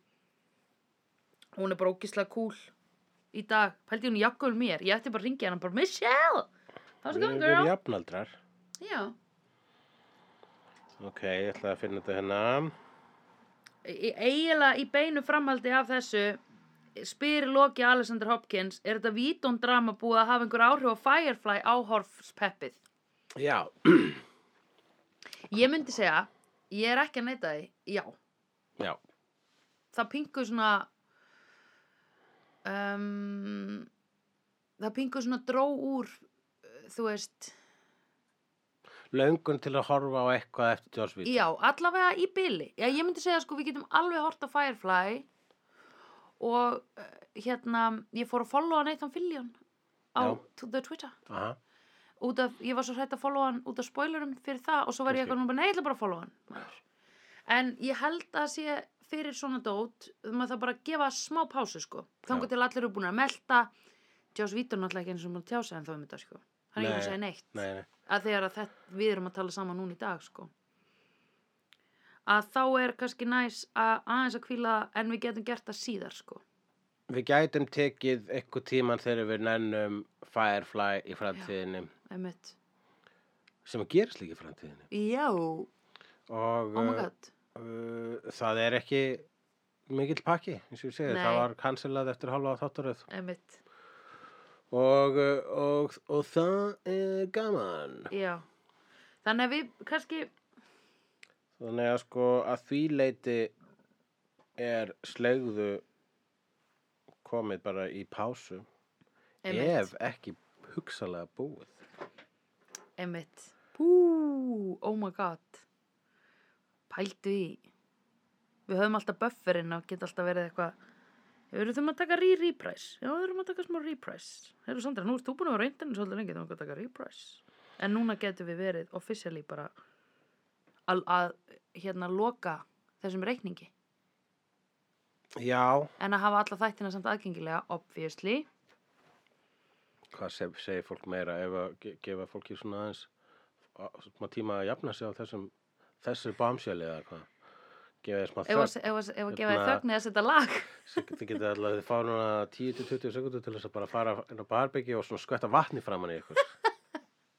A: Hún er bara ógislega cool í dag. Pældi hún jakkaður mér. Ég ætti bara að ringja hana bara Michelle! How's it
B: við
A: going
B: við
A: girl?
B: erum jafnaldrar
A: Já.
B: ok, ég ætla að finna þetta hérna
A: E- Eiginlega í beinu framhaldi af þessu spyr Loki Alexander Hopkins er þetta vítón drama búið að hafa einhver áhrif á Firefly áhorfspeppið?
B: já,
A: Ég myndi segja, ég er ekki að neita því, já.
B: já,
A: það pingu svona um, það pingu svona dró úr uh, þú veist
B: löngun til að horfa á eitthvað eftir Joss Whedon.
A: Já, allavega í byli. Já, ég myndi segja sko, við getum alveg hort á Firefly og uh, hérna, ég fór að followa Nathan Fillion á
B: Já.
A: t- the Twitter.
B: Aha.
A: Út af, ég var svo hrætt að followa hann út af spoilerum fyrir það og svo var ég
B: Kannski.
A: eitthvað núna, bara, nei, ég ætla bara að followa hann. maður." En ég held að sé fyrir svona dót, maður það bara að gefa smá pásu sko. Þangur
B: Já.
A: til allir eru búin að melta, Joss Vítur náttúrulega ekki eins og maður tjá sig en þá um þetta sko. Hann er ekki búin að
B: Nei,
A: segja neitt
B: Nei, nei.
A: að þegar að þetta, við erum að tala saman núna í dag sko að þá er kannski næs að aðeins að kvíla en við getum gert það síðar sko
B: Við gætum tekið eitthvað tíman þegar við nennum Firefly í framtíðinni
A: einmitt.
B: sem gerist líka í framtíðinni.
A: já, oh
B: Og
A: my god
B: uh, það er ekki mikill pakki, eins og ég segi,
A: Nei.
B: það var cancelað eftir halva þáttaröð
A: einmitt,
B: og, uh, og, og það er gaman.
A: já þannig að við kannski
B: Þannig að sko að því leiti er slegðu komið bara í pásu
A: einmitt,
B: ef ekki hugsalega búið.
A: einmitt Bú, oh my god pældu í við höfum alltaf bufferinn og geta alltaf verið eitthvað Við erum að taka re-reprise. Já, við erum að taka smá reprise. Herru Sandra, nú ert þú búin að vera á internet svolítið lengi, þá erum við að taka reprise. En núna getum við verið officially bara að, að hérna loka þessum reikningi.
B: Já,
A: En að hafa alla þættina samt aðgengilega, obviously.
B: hvað seg, segir fólk meira ef að ge- gefa fólki svona aðeins a- smá tíma að jafna sig á þessum þessu bámsjöli eða hvað gefa þér smá
A: Ef að
B: þögn
A: ef að- ef að gefa þið
B: Hérna-
A: þögn eða setja lag.
B: Svo get- þið getið alltaf þið fá núna 10-20 sekundur til þess að bara fara inn á barbeki og svona skvetta vatni framan
A: *laughs*
B: í ykkur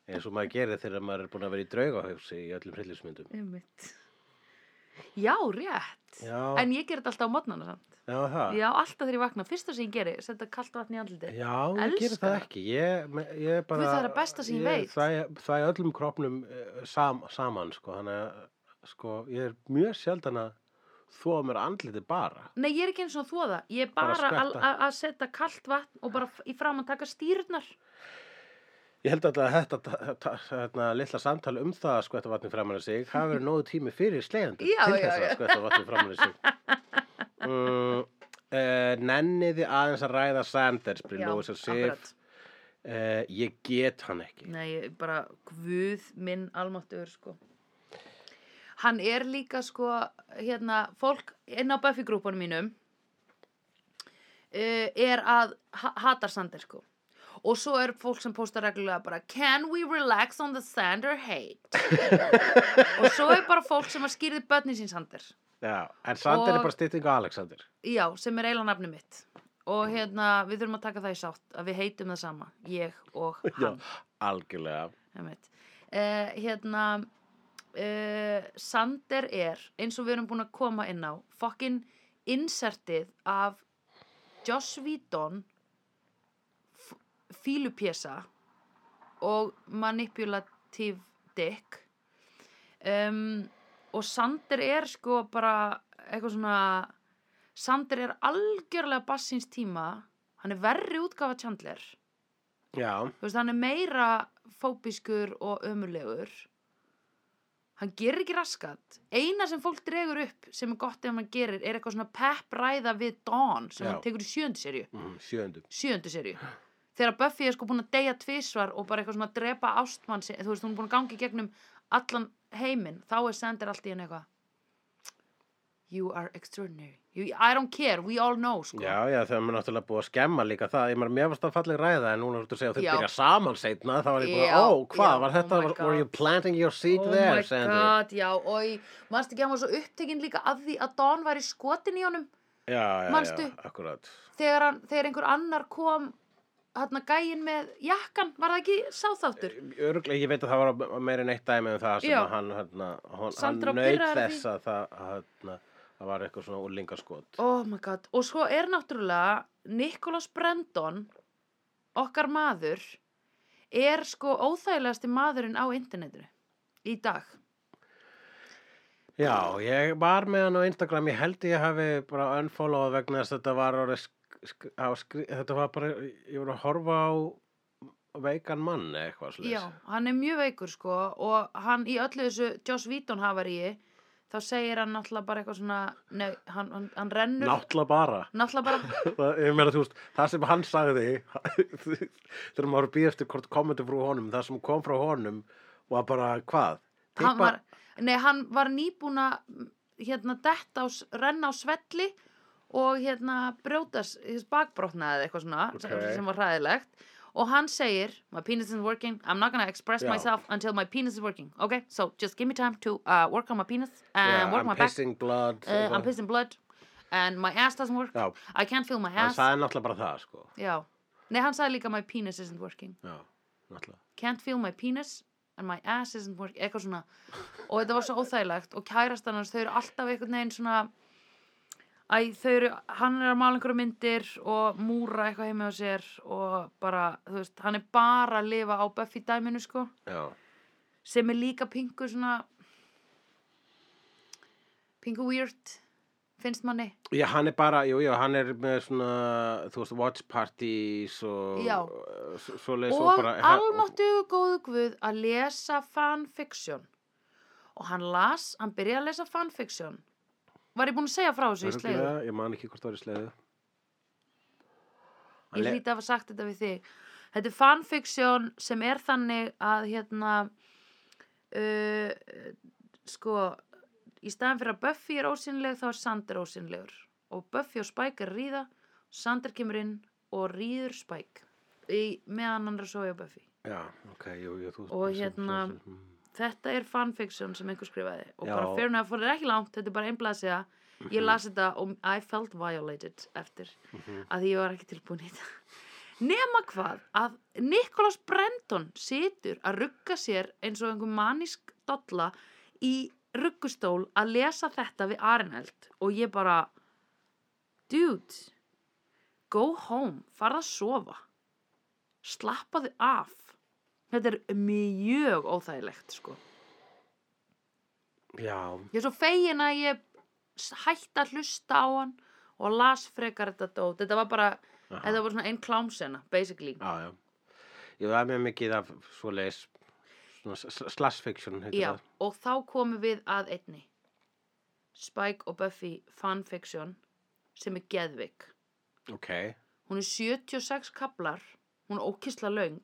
B: eins og maður gerir þegar maður er búin að vera í draugahugsi í öllum hryllismyndum
A: Einmitt. Já, rétt.
B: Já,
A: En ég ger þetta alltaf á modnana samt.
B: já það
A: Já, alltaf þegar ég vakna. Fyrsta sem ég geri, setja kalt vatn í andliti.
B: Já, ég gerir
A: Elska
B: það
A: það.
B: ekki ég, me- ég bara,
A: það er að besta sem ég veit.
B: Það, það er öllum kroppnum eh, sam, saman sko, þannig að sko, ég er mjög sjaldan að þóa mér andliti bara
A: Nei, ég er ekki eins og þóða. Ég er
B: Bara
A: bara að-
B: skvetta.
A: að að setja kalt vatn og bara f- í fram að taka stýrnar.
B: Ég held alltaf að þetta, ta- ta- hérna, litla samtal um það að skvetta vatni framan í sig hafi verið nógu tími fyrir slegjandur
A: Já,
B: til
A: já,
B: þess að
A: já.
B: skvetta vatni framan í sig mm, uh, Nenniði aðeins að ræða Sanders Brynn Lóis og Sif uh, Ég get hann ekki
A: Nei, ég bara guð minn almáttur, sko. Hann er líka, sko, hérna, fólk inn á Buffy-grúpunum mínum uh, er að ha hatar Sander, sko. Og svo er fólk sem postar reglulega bara Can we relax on the Sander hate? og svo er bara fólk sem að skýrði börnin sín Sander.
B: Já, En Sander
A: Og-
B: er bara stytting á Alexander
A: Já, sem er eiginlega nafni mitt og hérna, við þurfum að taka það í sátt að við heitum það sama, ég og
B: Já,
A: hann
B: algjörlega
A: uh, hérna uh, Sander er eins og við erum búin að koma inn á fokkin insertið af Joss Whedon f- fílupjesa og manipulativ dick um, og Sander er sko bara eitthvað svona Sander er algjörlega bassins tíma hann er verri útgafa Chandler
B: Já,
A: þú veist, hann er meira fóbiskur og ömulegur hann gerir ekki raskat eina sem fólk dregur upp sem er gott ef hann gerir er eitthvað svona peppræða við Dawn sem
B: Já.
A: hann tekur í sjöndu serju
B: mm, sjöndu
A: sjöndu serju þegar Buffy er sko búin að deyja tvisvar og bara eitthvað svona drepa ástmann sinn, þú veist, hún er búin að gangi gegnum allan heiminn, þá er sendir allt í henni eitthvað you are extraordinary you, I don't care, we all know sko.
B: Já, já, þau erum náttúrulega búið að skemma líka það Ég maður, mér varst það falleg ræða en núna ertu að segja að þau
A: Já.
B: byrja saman seinna þá var ég
A: Já,
B: bara, ó, hvað,
A: já,
B: var þetta
A: oh my
B: var, Were
A: God.
B: you planting your seed
A: oh
B: there,
A: my
B: Sandy?
A: god, já, og í- manstu ekki að hann var svo upptekinn líka af því að Don væri skotin í honum
B: Já, já,
A: Manstu?
B: já, akkurat
A: þegar, hann, þegar einhver annar kom hann gæinn með jakkan var það ekki sáþáttur
B: Öruglega, ég veit að það var meira en eitt dæmi um það sem
A: Já.
B: að hann, hérna, hann, hann
A: Sandra
B: naut
A: pirraður
B: þess
A: því.
B: að það, að, hérna, það var eitthvað svona úlingaskot
A: oh my god, og svo er náttúrulega Nicholas Brendon okkar maður er sko óþægilegasti maðurinn á internetinu í dag
B: Já, ég var með hann á Instagram, ég held ég hafi bara unfollowað vegna þess að þetta var orðið sk sk á skri, þetta var bara, ég voru að horfa á veikan mann eða eitthvað slags.
A: Já, hann er mjög veikur sko og hann í öllu þessu Joss Víton hafar í þá segir hann náttúrulega bara eitthvað svona nei, hann, hann, hann rennur
B: Náttúrulega
A: *laughs*
B: bara.
A: náttúrulega bara,
B: Það, ég meina, þú veist, það sem hann sagði, *laughs* þegar maður var að býða eftir hvort komandi frá honum, það sem kom frá honum var bara, hvað?
A: hann
B: Tippa-
A: var nei, hann var nýbúin að hérna detta á, s- renna á svelli og hérna brjótast bakbrotna eða eitthvað svona
B: Ok.
A: sem, sem var hræðilegt og hann segir, my penis isn't working I'm not gonna express
B: Já.
A: myself until my penis is working okay, so just give me time to uh, work on my penis and
B: Yeah,
A: work
B: I'm
A: my back
B: pissing blood.
A: uh, I'm
B: eitthvað.
A: pissing blood and my ass doesn't work
B: Já,
A: I can't feel my
B: hann
A: ass
B: sagði náttúrulega bara það, sko.
A: Já, nei hann sagði líka my penis isn't working
B: Já, náttúrulega.
A: Can't feel my penis and my ass isn't working eitthvað svona og þetta var svo óþægilegt og kærastan hans þau eru alltaf einhvern veginn svona Æ, þau eru, hann er að mála einhverja myndir og múra eitthvað heima á sér og bara, þú veist, hann er bara að lifa á Buffy dæminu, sko
B: Já,
A: sem er líka pingu svona pingu weird finnst manni
B: Já, hann er bara, jú, jú, hann er með svona, þú veist, watch parties og
A: Já.
B: uh, s- svoleiðis og,
A: og
B: bara,
A: almáttugu góðu guð að lesa fanfiction og hann las, hann byrjaði að lesa fanfiction var ég búin að segja frá þessu í slegðu
B: Örugglega, Ég man ekki hvort það var í sleiðu. Hann
A: ég
B: le-
A: hlýti að hafa sagt þetta við þig þetta er fanfiction sem er þannig að hérna uh, sko í staðan fyrir að Buffy er ósynleg þá er Sander ósynlegur og Buffy og Spike er að ríða Sander kemur inn og ríður Spike í, meðan hann er að sofa hjá Buffy
B: Já, ok, jú, jú, þú
A: Og
B: sem- sem-
A: hérna-
B: sem- sem-
A: þetta er fanfiction sem einhver skrifaði og
B: Já.
A: bara fyrir nefn fór þetta ekki langt þetta er bara einblæðsja ég las þetta og I felt violated eftir
B: Mhm.
A: að því ég var ekki tilbúin í þetta nema hvað að Nicholas Brenton situr að rugga sér eins og einhver manísk dolla í ruggustól að lesa þetta við Areneld og ég bara dude go home, farð að sofa slappaðu af þetta er mjög óþægilegt sko
B: Já,
A: Ég er svo fegin að ég s- hætti að hlusta á hann og las frekar þetta dót. Þetta var bara,
B: Aha.
A: þetta var svona einn klámsena, basically.
B: Já, já. Ég það er mjög mikið af svo leis slash fiction heitir
A: Já,
B: það.
A: og þá komum við að einni. Spike og Buffy fanfiction sem er geðvik.
B: Ok.
A: Hún er 76 kaplar, hún er ókisla löng.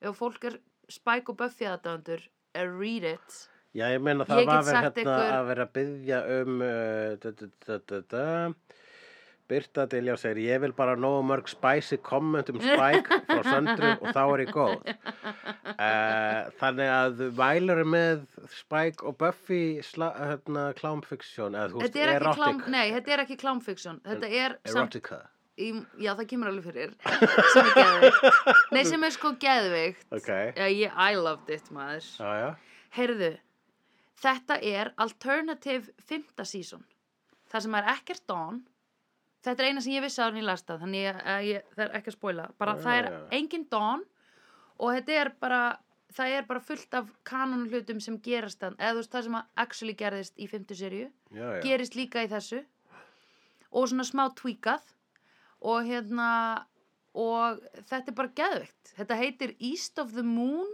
A: Ef fólk er Spike og Buffy aðdæðandur, read it.
B: Já, ég meina það
A: Ég get
B: var verið
A: sagt
B: hérna
A: ykkur-
B: að vera að byggja um uh, da, da, da, da, da. Birta Diljá segir, ég vil bara nógu mörg spicy comment
A: *laughs*
B: um Spike frá söndru og þá er ég góð. Uh, þannig að vælar með Spike og Buffy sla, hérna, clownfiction, eða þú veist,
A: Þetta er ekki klám,
B: erotic,
A: nei, þetta er ekki klámfiction. Þetta er samt
B: erotica.
A: í, já það kemur alveg fyrir sem er geðveikt nei sem er sko geðveikt
B: Ok.
A: já, ég, I loved it maður
B: Já, já.
A: heyrðu, þetta er alternative fymta season það sem er ekkert on þetta er eina sem ég vissi að hún í lasta þannig ég, að ég, það er ekki að spoila bara
B: Já,
A: það er
B: Ah, já.
A: engin don og þetta er bara það er bara fullt af kanonhlutum sem gerast þann eða þú veist það sem að actually gerðist í fymtu seríu
B: já, já.
A: gerist líka í þessu og svona smá tweakað og hérna og þetta er bara geðveikt þetta heitir East of the Moon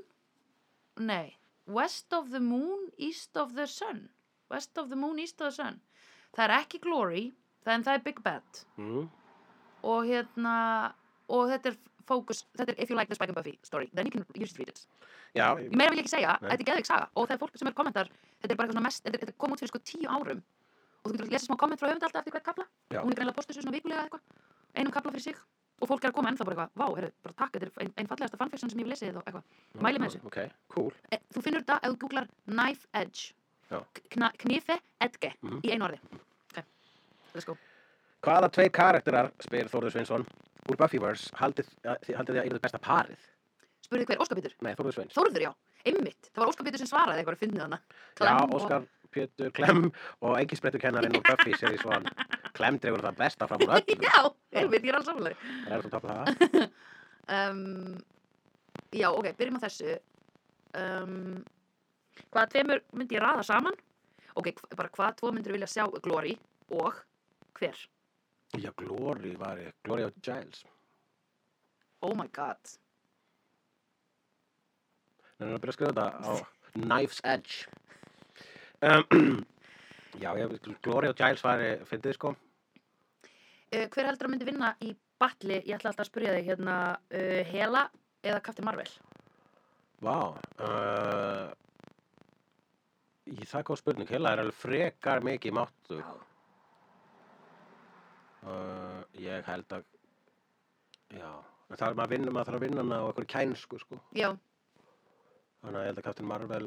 A: nei, West of the Moon East of the Sun West of the Moon, East of the Sun það er ekki Glory, það en það er Big Bad
B: Mm.
A: og hérna og þetta er fókus, þetta er If you like the Spike and Buffy story then you can you should read it
B: Já,
A: meira vil ég ekki segja,
B: Nei.
A: þetta er geðveik saga og það er fólk sem er kommentar, þetta er bara eitthvað svona mest þetta, þetta kom út fyrir sko tíu árum og þú getur að lesa smá komment frá höfund alltaf eftir hvert kapla
B: Já.
A: hún er greinlega postuð svona vikulega eða eitthvað einum kapla fyrir sig og fólk er að koma ennþá bara eitthvað, vá, heru, bara takk, þetta er ein, ein fallegasta fanfiction sem ég hef lesið og eitthvað, mæli með þessu
B: Ok, cool.
A: e, þú finnur þetta ef þú googlar knife edge
B: Já.
A: Kna, knife edge
B: Mhm.
A: í einu orði ok, let's go
B: Hvaða tvei karakterar, spyr Þórður Sveinsson, úr Buffyverse, haldið, að- þið- haldið þið að eru besta parið?
A: spurði hver, Óskarbítur,
B: Nei, Þórður Sveins.
A: Þórður já, einmitt það var Óskarbítur sem svaraði eitthvað að finna þarna
B: Já,
A: Klemm og-
B: Óskar, Pétur, Klemm og engin sprettur kennarinn úr Buffy, sér í svona. Klemm dregur það besta fram úr öllum.
A: *laughs* já, einmitt, ég er alls samlega
B: Það er svo topp það.
A: um, Já, ok, byrjum á þessu um, Hvaða tveimur myndi ég raða saman? Ok, hv- bara hvaða tvo myndir vilja sjá Glory og hver?
B: Já, Glory var ég. Glory og Giles.
A: Oh my god
B: Þannig að byrja að skrifa þetta á Knife's Edge. Um, *clears throat* já, ég Gloria og Giles var, finnst þið sko,
A: Uh, hver heldur að myndi vinna í batli, ég ætla alltaf að spyrja þig, hérna, uh, Hela eða Captain Marvel?
B: vá, uh, ég það er góð spurning, heila er alveg frekar mikið máttu. Uh, ég held að, já, en það er maður að vinna, maður þarf að vinna hana á einhverju kænsku sko.
A: Já,
B: Þannig að ég held að Captain Marvel,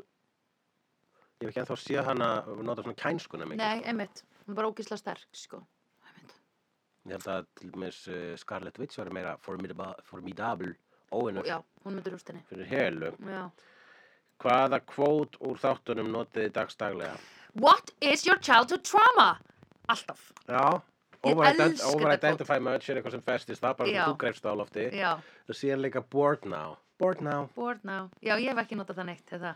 B: ég hef ekki ennþá séð hana nota svona kænskuna mikið.
A: nei, einmitt, hún er bara ógislega sterk, sko. Einmitt.
B: Ég held að til dæmis uh, Scarlet Witch var meira formidable, formidable óinnar
A: Já, hún myndi rústinni.
B: fyrir helu.
A: Já.
B: Hvaða kvót úr þáttunum notiði dagstaglega?
A: What is your childhood trauma? Alltaf.
B: Já,
A: Ég
B: overident-
A: elska þetta
B: over-identify much er eitthvað sem festist, það er bara
A: Já.
B: sem þú greifst á lofti.
A: Já,
B: Það síðan líka bored now. Bored now,
A: bored now. Já, ég hef ekki notað það neitt, eða,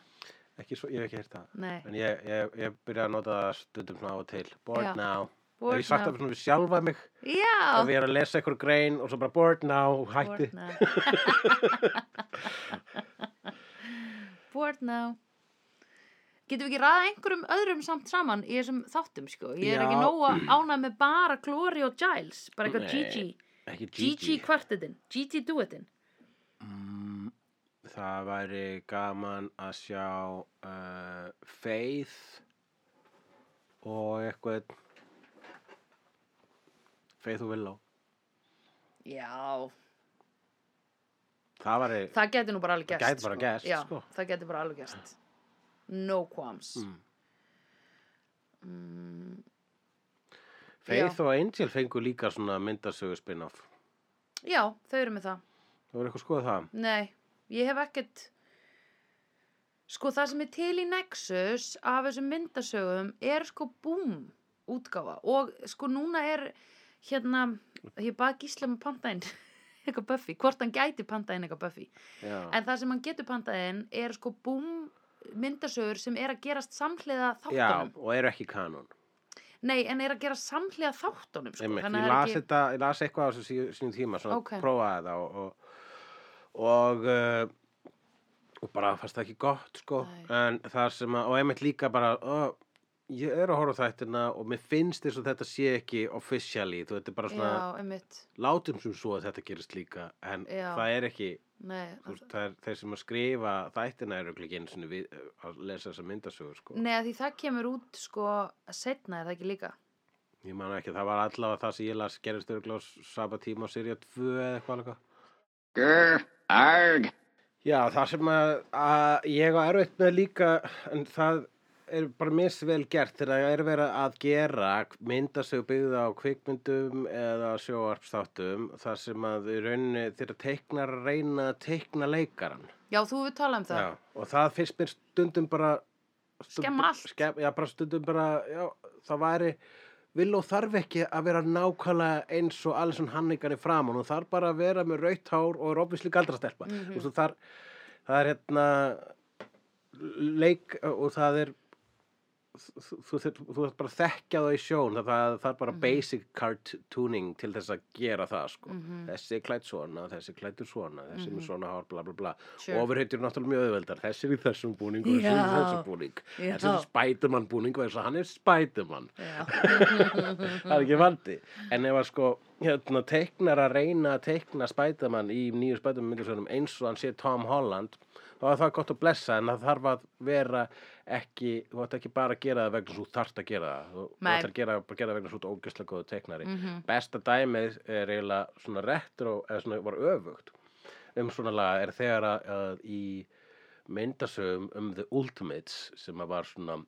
B: ekki svo, ég hef ekki heyrt það.
A: nei.
B: En ég, ég, ég byrja að nota það stundum svona á og til. Bored
A: Já.
B: now. Bored
A: Bored
B: ég sagt
A: now.
B: það svona við sjálfa mig, ef
A: Já,
B: ég er að lesa einhver grein og svo bara bored now,
A: bored
B: hætti.
A: now. *laughs* bored now. Getum við ekki ræða einhverjum öðrum samt saman í þessum þáttum, sko? Ég er
B: Já.
A: ekki nóga ánað með bara Glory og Giles, bara eitthvað
B: Nei,
A: Gigi.
B: Ekki
A: Gigi kvartetinn, Gigi duettinn.
B: Mm, Það væri gaman að sjá uh, Faith og eitthvað Faith og Willow.
A: Já,
B: Það væri,
A: það geti nú bara alveg
B: Það
A: gerst.
B: gæti bara gerst,
A: Já,
B: sko.
A: það geti bara alveg gerst. No qualms.
B: Mm.
A: Mm.
B: Faith og Angel fengu líka svona myndasögu spin-off.
A: Já, þau eru með það.
B: Það voru eitthvað skoðað það.
A: Nei, ég hef ekkert Sko það sem er til í Nexus af þessum myndasögum er sko boom útgáfa og sko núna er hérna, ég bað Gísla um með pantaðinn *laughs* eitthvað Buffy, hvort hann gæti pantaðinn eitthvað Buffy,
B: Já.
A: en það sem hann getur pantaðinn er sko boom myndasögur sem er að gerast samhliða
B: Já,
A: þáttunum,
B: og eru ekki kanon.
A: nei en er að gera samhliða þáttunum sko,
B: Einmitt,
A: þannig að það
B: ég las
A: er ekki
B: þetta, ég las eitthvað á þessu sí- sínum tíma, svona
A: Ókei.
B: prófaði það og, og, og, uh, og bara fannst það ekki gott, sko,
A: Nei.
B: en það sem að, og einmitt líka bara, ó, ég er að horfa á þættina og mér finnst þess að þetta sé ekki officially, þú veit, þetta er bara svona,
A: Já, einmitt,
B: látum sem svo að þetta gerist líka, en
A: Já.
B: það er ekki,
A: nei
B: þú veist, það er þeir sem að skrifa þættina eru ekki einu sinni við, eh, að lesa þessa myndasögur, sko.
A: Nei, af því það kemur út sko setna er það ekki líka
B: Ég man ekki, það var allavega það sem ég las gerist örglás sama tíma á Sirja 2 eða eitthvað alveg.
C: Grr, arg.
B: Já, það sem að, að ég á erfitt með líka, en það er bara misvel gert þegar það er verið að gera myndasögu byggða á kvikmyndum eða sjóarpstáttum, þar sem að í rauninni þeirra teiknar að reyna að teikna leikaran.
A: Já, þú hefur talað um það.
B: Já, og það finnst mér stundum bara... stundum-
A: Skemma allt.
B: Skemm, já, bara stundum bara, já, það væri... Villó þarf ekki að vera nákvæmlega eins og Alison Hannigan er fram og hún þarf bara að vera með rautt hár og er ofisli galdrastelpa.
A: Mhm.
B: Mm -hmm. það, er, það er hérna leik og það er þú, þú, þú, þú þarf bara að þekkja það í sjón það, það, það er
A: Mhm.
B: bara basic cartooning til þess að gera það sko.
A: Mhm.
B: þessi er klætt svona, þessi er klættur svona þessi er með svona hár, bla bla bla
A: Sure.
B: og overheitur er náttúrulega mjög auðveldar þessi er í þessum búning og þessi er í
A: Já.
B: þessum búning
A: Já.
B: þessi er spætumann búning og þess að hann er spætumann
A: Já.
B: það er ekki
A: Mhm.
B: vandi en ef að sko hérna, teiknar að reyna að teikna spætamann í nýju spætamann myndasögnum eins og hann sé Tom Holland þá er það gott að blessa en það þarf að vera ekki, þú ætti ekki bara að gera það vegna svo þú þarft að gera það þú þú
A: Nei.
B: ætti að gera, bara gera það vegna svo þú ert ógæslega góðu
A: Mhm.
B: teiknari *laughs*
A: Mm.
B: besta dæmið er eiginlega svona retro eða svona var öfugt um svona laga er þegar að, að í myndasögum um The Ultimates sem að var svona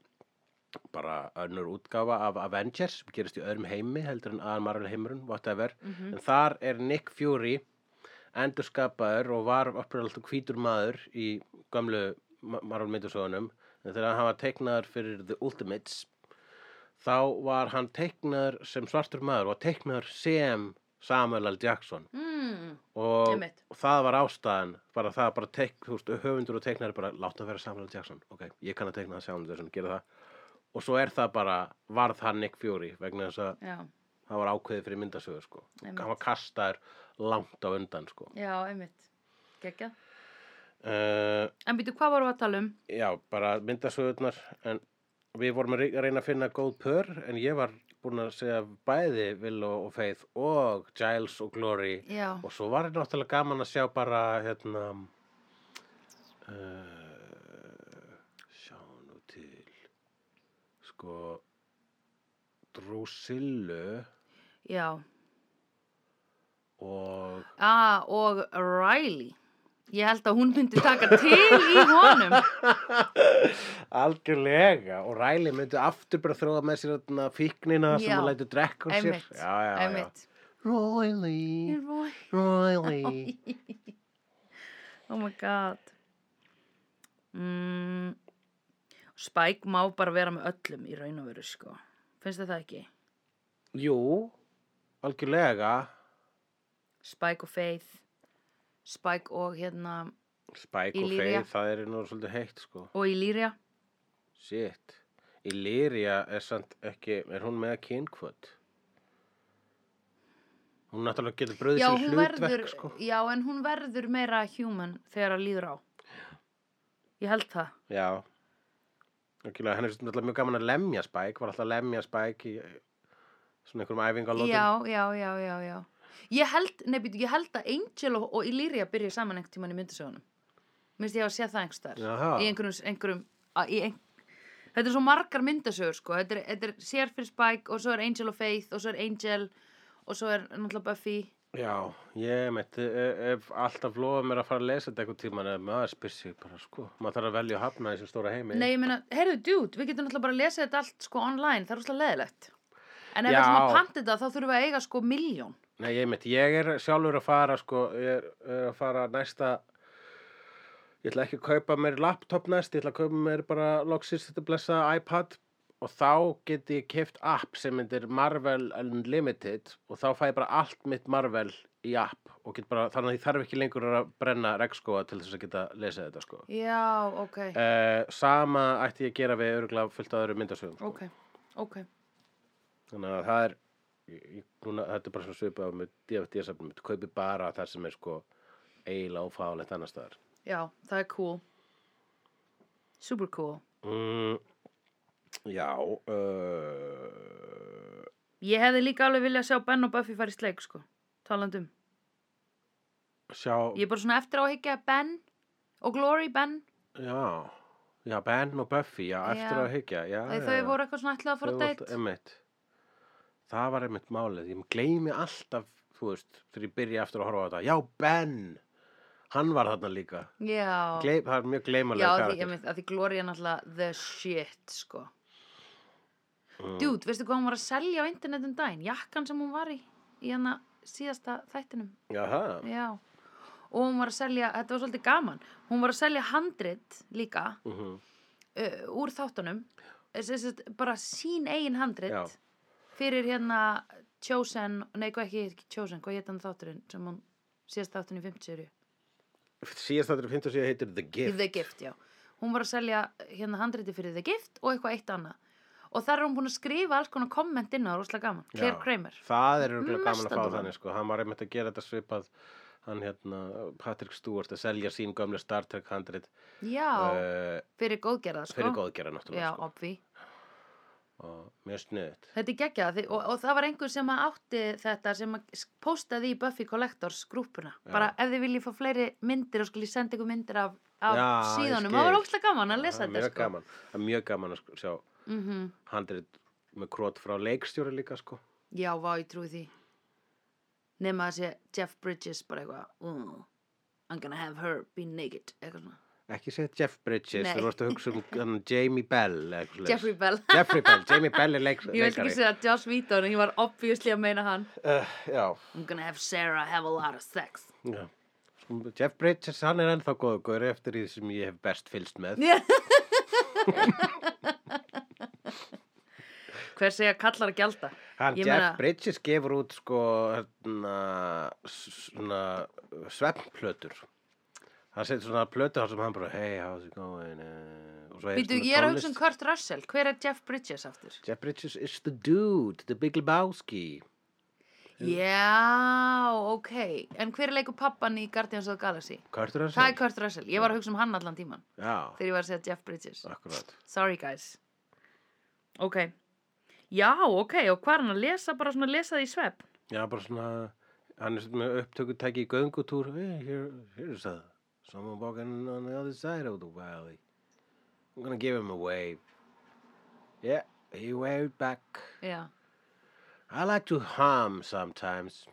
B: bara önnur útgáfa af Avengers sem gerist í öðrum heimi heldur en að Marvel heimurinn, whatever
A: Mhm.
B: en þar er Nick Fury endurskapaður og var uppræður alltaf hvítur maður í gamlu Ma- Marvel myndasögunum en þegar hann var teiknaður fyrir The Ultimates þá var hann teiknaður sem svartur maður og teiknaður sem Samuel L. Jackson
A: Mm.
B: og
A: Einmitt.
B: það var ástæðan bara það bara tek, þú veist, höfundur og teiknari bara láta það vera Samuel L. Jackson ok, ég kann að teikna það Samuel L. Jackson, gera það og svo er það bara, varð hann Nick Fury vegna þess að
A: Já.
B: það var ákveðið fyrir myndasögu sko.
A: Einmitt.
B: hann var kastaður langt á undan sko.
A: Já, einmitt. Gekja.
B: Uh,
A: En býtu, hvað vorum við að tala um?
B: já, bara myndasögurnar. En við vorum að re- reyna að finna góð pör, en ég var búin að segja bæði Willow og Faith og Giles og Glory.
A: Já,
B: Og svo var þetta náttúrulega gaman að sjá bara, hérna, uh, sjá nú til, sko, Drusillu
A: já.
B: og,
A: Ah, og Riley. Ég held að hún myndi taka til í
B: *laughs*
A: honum.
B: algjörlega, og Ræli myndi aftur bara þróa með sér þarna fíknina sem
A: Já,
B: hún lætur drekka úr sér.
A: Einmitt.
B: Já, já,
A: Einmitt.
B: já. Ræli,
A: Riley.
B: Ræli.
A: Oh my god mm, Spike má bara vera með öllum í raun og veru sko Finnst þið það ekki?
B: Jú, algjörlega.
A: Spike og Faith Spike og hérna
B: Spike og
A: Illyria.
B: Faith, það er nú svolítið heitt, sko.
A: og Illyria
B: Shit. Illyria er samt ekki, er hún með kynkvöld? Hún náttúrulega getur bröðið
A: já,
B: sér
A: hún
B: hlutverk,
A: verður,
B: sko.
A: já, en hún verður meira human þegar að líður á Ég held það
B: Já. Okkilega, henni er náttúrulega mjög gaman að lemja Spike, var alltaf að lemja Spike í eh, svona einhverjum æfingalótum.
A: Já, já, já, já, já Ég held, nei, býtu, ég held að Angel og, og Illyria byrja saman einhvern tímann í myndasögunum Minnst ég hafa séð það einhverstaðar
B: Jaha.
A: í einhverjum, einhverjum að, í ein... þetta er svo margar myndasögur sko. þetta, er, þetta er sér fyrir Spike og svo er Angel og Faith og svo er Angel og svo er náttúrulega Buffy
B: Já, ég meitt, ef alltaf lofa mér að fara að lesa þetta einhvern tímann, eða maður spyr sig bara, sko, maður þarf að velja að hafna í þessum stóra heimi.
A: nei, ég meina, heyrðu, dude, við getum náttúrulega bara að lesa þetta allt sko online, það er úrslega leðilegt en ef
B: Já.
A: við sem að panta þetta þá þurfum við að eiga sko miljón
B: Nei, ég mitt, ég er sjálfur að fara, sko, ég er, er að fara næsta, ég ætla ekki að kaupa mér laptop næst, ég ætla að kaupa mér bara loksins þetta blessa iPad og þá get ég keft app sem myndir Marvel Unlimited og þá fæ ég bara allt mitt Marvel í app og get bara, þannig að ég þarf ekki lengur að brenna regnskóa til þess að geta lesið þetta, sko.
A: já, ok,
B: Uh, sama ætti ég að gera við öruglega fullt að öðru myndasögum, sko.
A: ok, ok
B: Þannig að það er, ég- ég- núna, þetta er bara svona svipað með DFD-safnum, þú kaupir bara það sem er sko eiginlega ófáleitt annar staðar.
A: já, það er cool super cool
B: Mm, já, uh,
A: ég hefði líka alveg viljað sjá Ben og Buffy fara í sleik sko, talandum
B: sjá,
A: ég er bara svona eftir á að higgja Ben og Glory Ben
B: já, já, Ben og Buffy, já, eftir
A: Já.
B: að hyggja, já,
A: Þegar
B: já,
A: þau
B: já.
A: voru eitthvað svona ætlað að fara
B: Þau
A: á
B: voru
A: deitt.
B: alltaf- Einmitt, það var einmitt málið, ég gleymi alltaf, þú veist, þegar ég byrja aftur að horfa á þetta, já, Ben, hann var þarna líka,
A: Já,
B: Gleim, það er mjög
A: já
B: gleymalega
A: að því, einmitt, að því Gloria er náttúrulega the shit, sko.
B: Mm. Sko.
A: Dude, veistu hvað hún var að selja á internetum daginn? Jakkan sem hún var í, í hana síðasta þættinum.
B: Jaha,
A: Já, og hún var að selja, þetta var svolítið gaman, hún var að selja handrit líka
B: mhm.
A: uh, úr þáttunum, þess, þess, þess, bara sín eigin handrit
B: Já.
A: fyrir hérna Chosen, nei, hvað ekki, ekki Chosen, hvað hétt hann þátturinn sem hún síðasta þátturinn í 50 serið?
B: síðast þetta er 50 síðan heitir The Gift.
A: The Gift, já. Hún var að selja hérna handriti fyrir The Gift og eitthvað eitt annað. Og þar er hún búin að skrifa alls konar komment inn á það, rosalega gaman. Claire
B: Já.
A: Kramer.
B: Það er rúglega gaman
A: Mest
B: að fá
A: undan.
B: þannig sko. Hann var einmitt að gera þetta svipað hann hérna Patrick Stewart að selja sín gömlu Star Trek 100
A: Já,
B: uh,
A: fyrir góðgerða, sko.
B: fyrir góðgera náttúrulega
A: Já,
B: sko.
A: obvi.
B: og mjög snuðt.
A: Þetta er geggjað því- og, og það var einhver sem að átti þetta sem að s- postaði í Buffy Collectors grúpuna.
B: Já.
A: Bara ef þið viljið fá fleiri myndir og skuli senda ykkur myndir af, af
B: Já, ég
A: síðanum.
B: skil.
A: Það var ógstlega gaman að
B: Það
A: lesa
B: er
A: þetta,
B: Eh, mjög
A: sko.
B: gaman. Það er mjög gaman að sk- sjá
A: Mm
B: handrið með krót frá leikstjóri líka sko.
A: Já, vá, ég trúi því. Nefna að sé Jeff Bridges bara eitthvað, uh, I'm gonna have her be naked, eitthvað svona.
B: Ekki segja Jeff Bridges,
A: Nei.
B: þú vorst að hugsa um hann, Jamie Bell eða eitthvað svoleiðis.
A: Jeffrey Bell. *laughs*
B: Jeffrey Bell, Jamie Bell er leik,
A: ég veit ekki
B: leikari.
A: segja Josh Whedon, ég var obviously að meina hann.
B: Uh, já,
A: I'm gonna have Sarah have a lot of sex.
B: já. Sko, Jeff Bridges, hann er ennþá góðu góður eftir því sem ég hef best fylst með.
A: *laughs* Hver segja kallar að gjalda?
B: Hann
A: Ég
B: Jeff
A: meina-
B: Bridges gefur út sko hérna, s- svona svefnplötur hann setur svona plötur þar sem hann bara hey how's it going uh, og svo heyrist
A: Býtu,
B: hann með
A: ég er að
B: tónlist.
A: hugsa um Kurt Russell. Hver er Jeff Bridges aftur?
B: Jeff Bridges is the dude, the big Lebowski
A: Já, ok. En hver leikur pappan í Guardians of the Galaxy?
B: Kurt Russell?
A: Það er Kurt Russell. Ég var að hugsa um hann allan tíman
B: Já,
A: þegar ég var að segja Jeff Bridges.
B: akkurat.
A: Sorry guys. Ok. Já, ok. Og hvað er hann að lesa? Bara svona lesa það í svepp.
B: Já, bara svona, hann er svona með upptökutæki í göngutúr. Hey, here, here's a, someone walking on the other side of the valley. I'm gonna give him a wave. Yeah, he waved back.
A: Já.
B: I like to hum sometimes.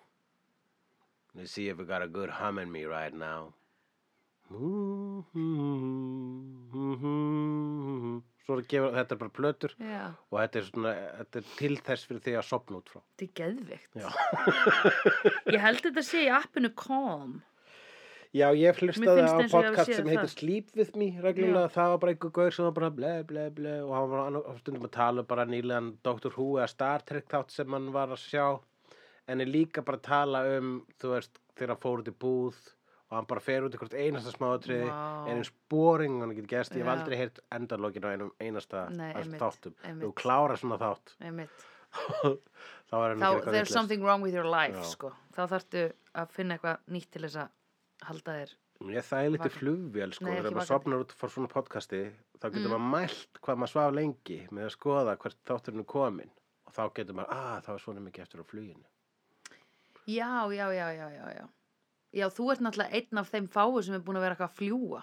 B: Let's see if I got a good hum in me right now. Svo er gefur, þetta er bara plötur
A: Já.
B: og þetta er, svona, þetta er til þess fyrir því að sopna út frá.
A: Þetta er geðvikt.
B: Já.
A: ég held þetta sé í appinu Calm.
B: Já, ég
A: Mér
B: hlustaði
A: finnst eins
B: á
A: og ég hafi
B: podcast
A: séð
B: sem
A: það.
B: heitir Sleep With Me reglulega, það var bara einhver gaur sem var bara ble, ble, ble og hann var annað- stundum að tala bara nýlegan Dr. Who eða Star Trek þátt sem hann var að sjá en er líka bara að tala um, þú veist, þegar hann fór út í búð og hann bara fer út í hvert einasta smáatriði
A: Vá.
B: er eins boring hann getur gæst, ég hef
A: Já.
B: aldrei heyrt endalókin á einum einasta
A: Nei,
B: af
A: einmitt,
B: þáttum,
A: einmitt.
B: þú klárar svona þátt
A: Einmitt.
B: þá er hann
A: Þá,
B: að gera eitthvað
A: there's
B: vitlaust.
A: something wrong with your life,
B: Já.
A: sko. Þá þarftu að finna eitthvað nýtt til þess að halda þér.
B: Ég það er litið
A: Vaka.
B: flugvél sko,
A: Nei, ekki
B: þegar maður
A: vakandi.
B: sopnar út frá svona podcasti þá getur
A: Mm.
B: maður mælt hvað maður svaf lengi með að skoða hvert þátturinn er komin og þá getur maður, að ah, það var svona mikið eftir á fluginu
A: Já, já, já, já, já, já. Já, þú ert náttúrulega einn af þeim fáu sem er búin að vera eitthvað að fljúa.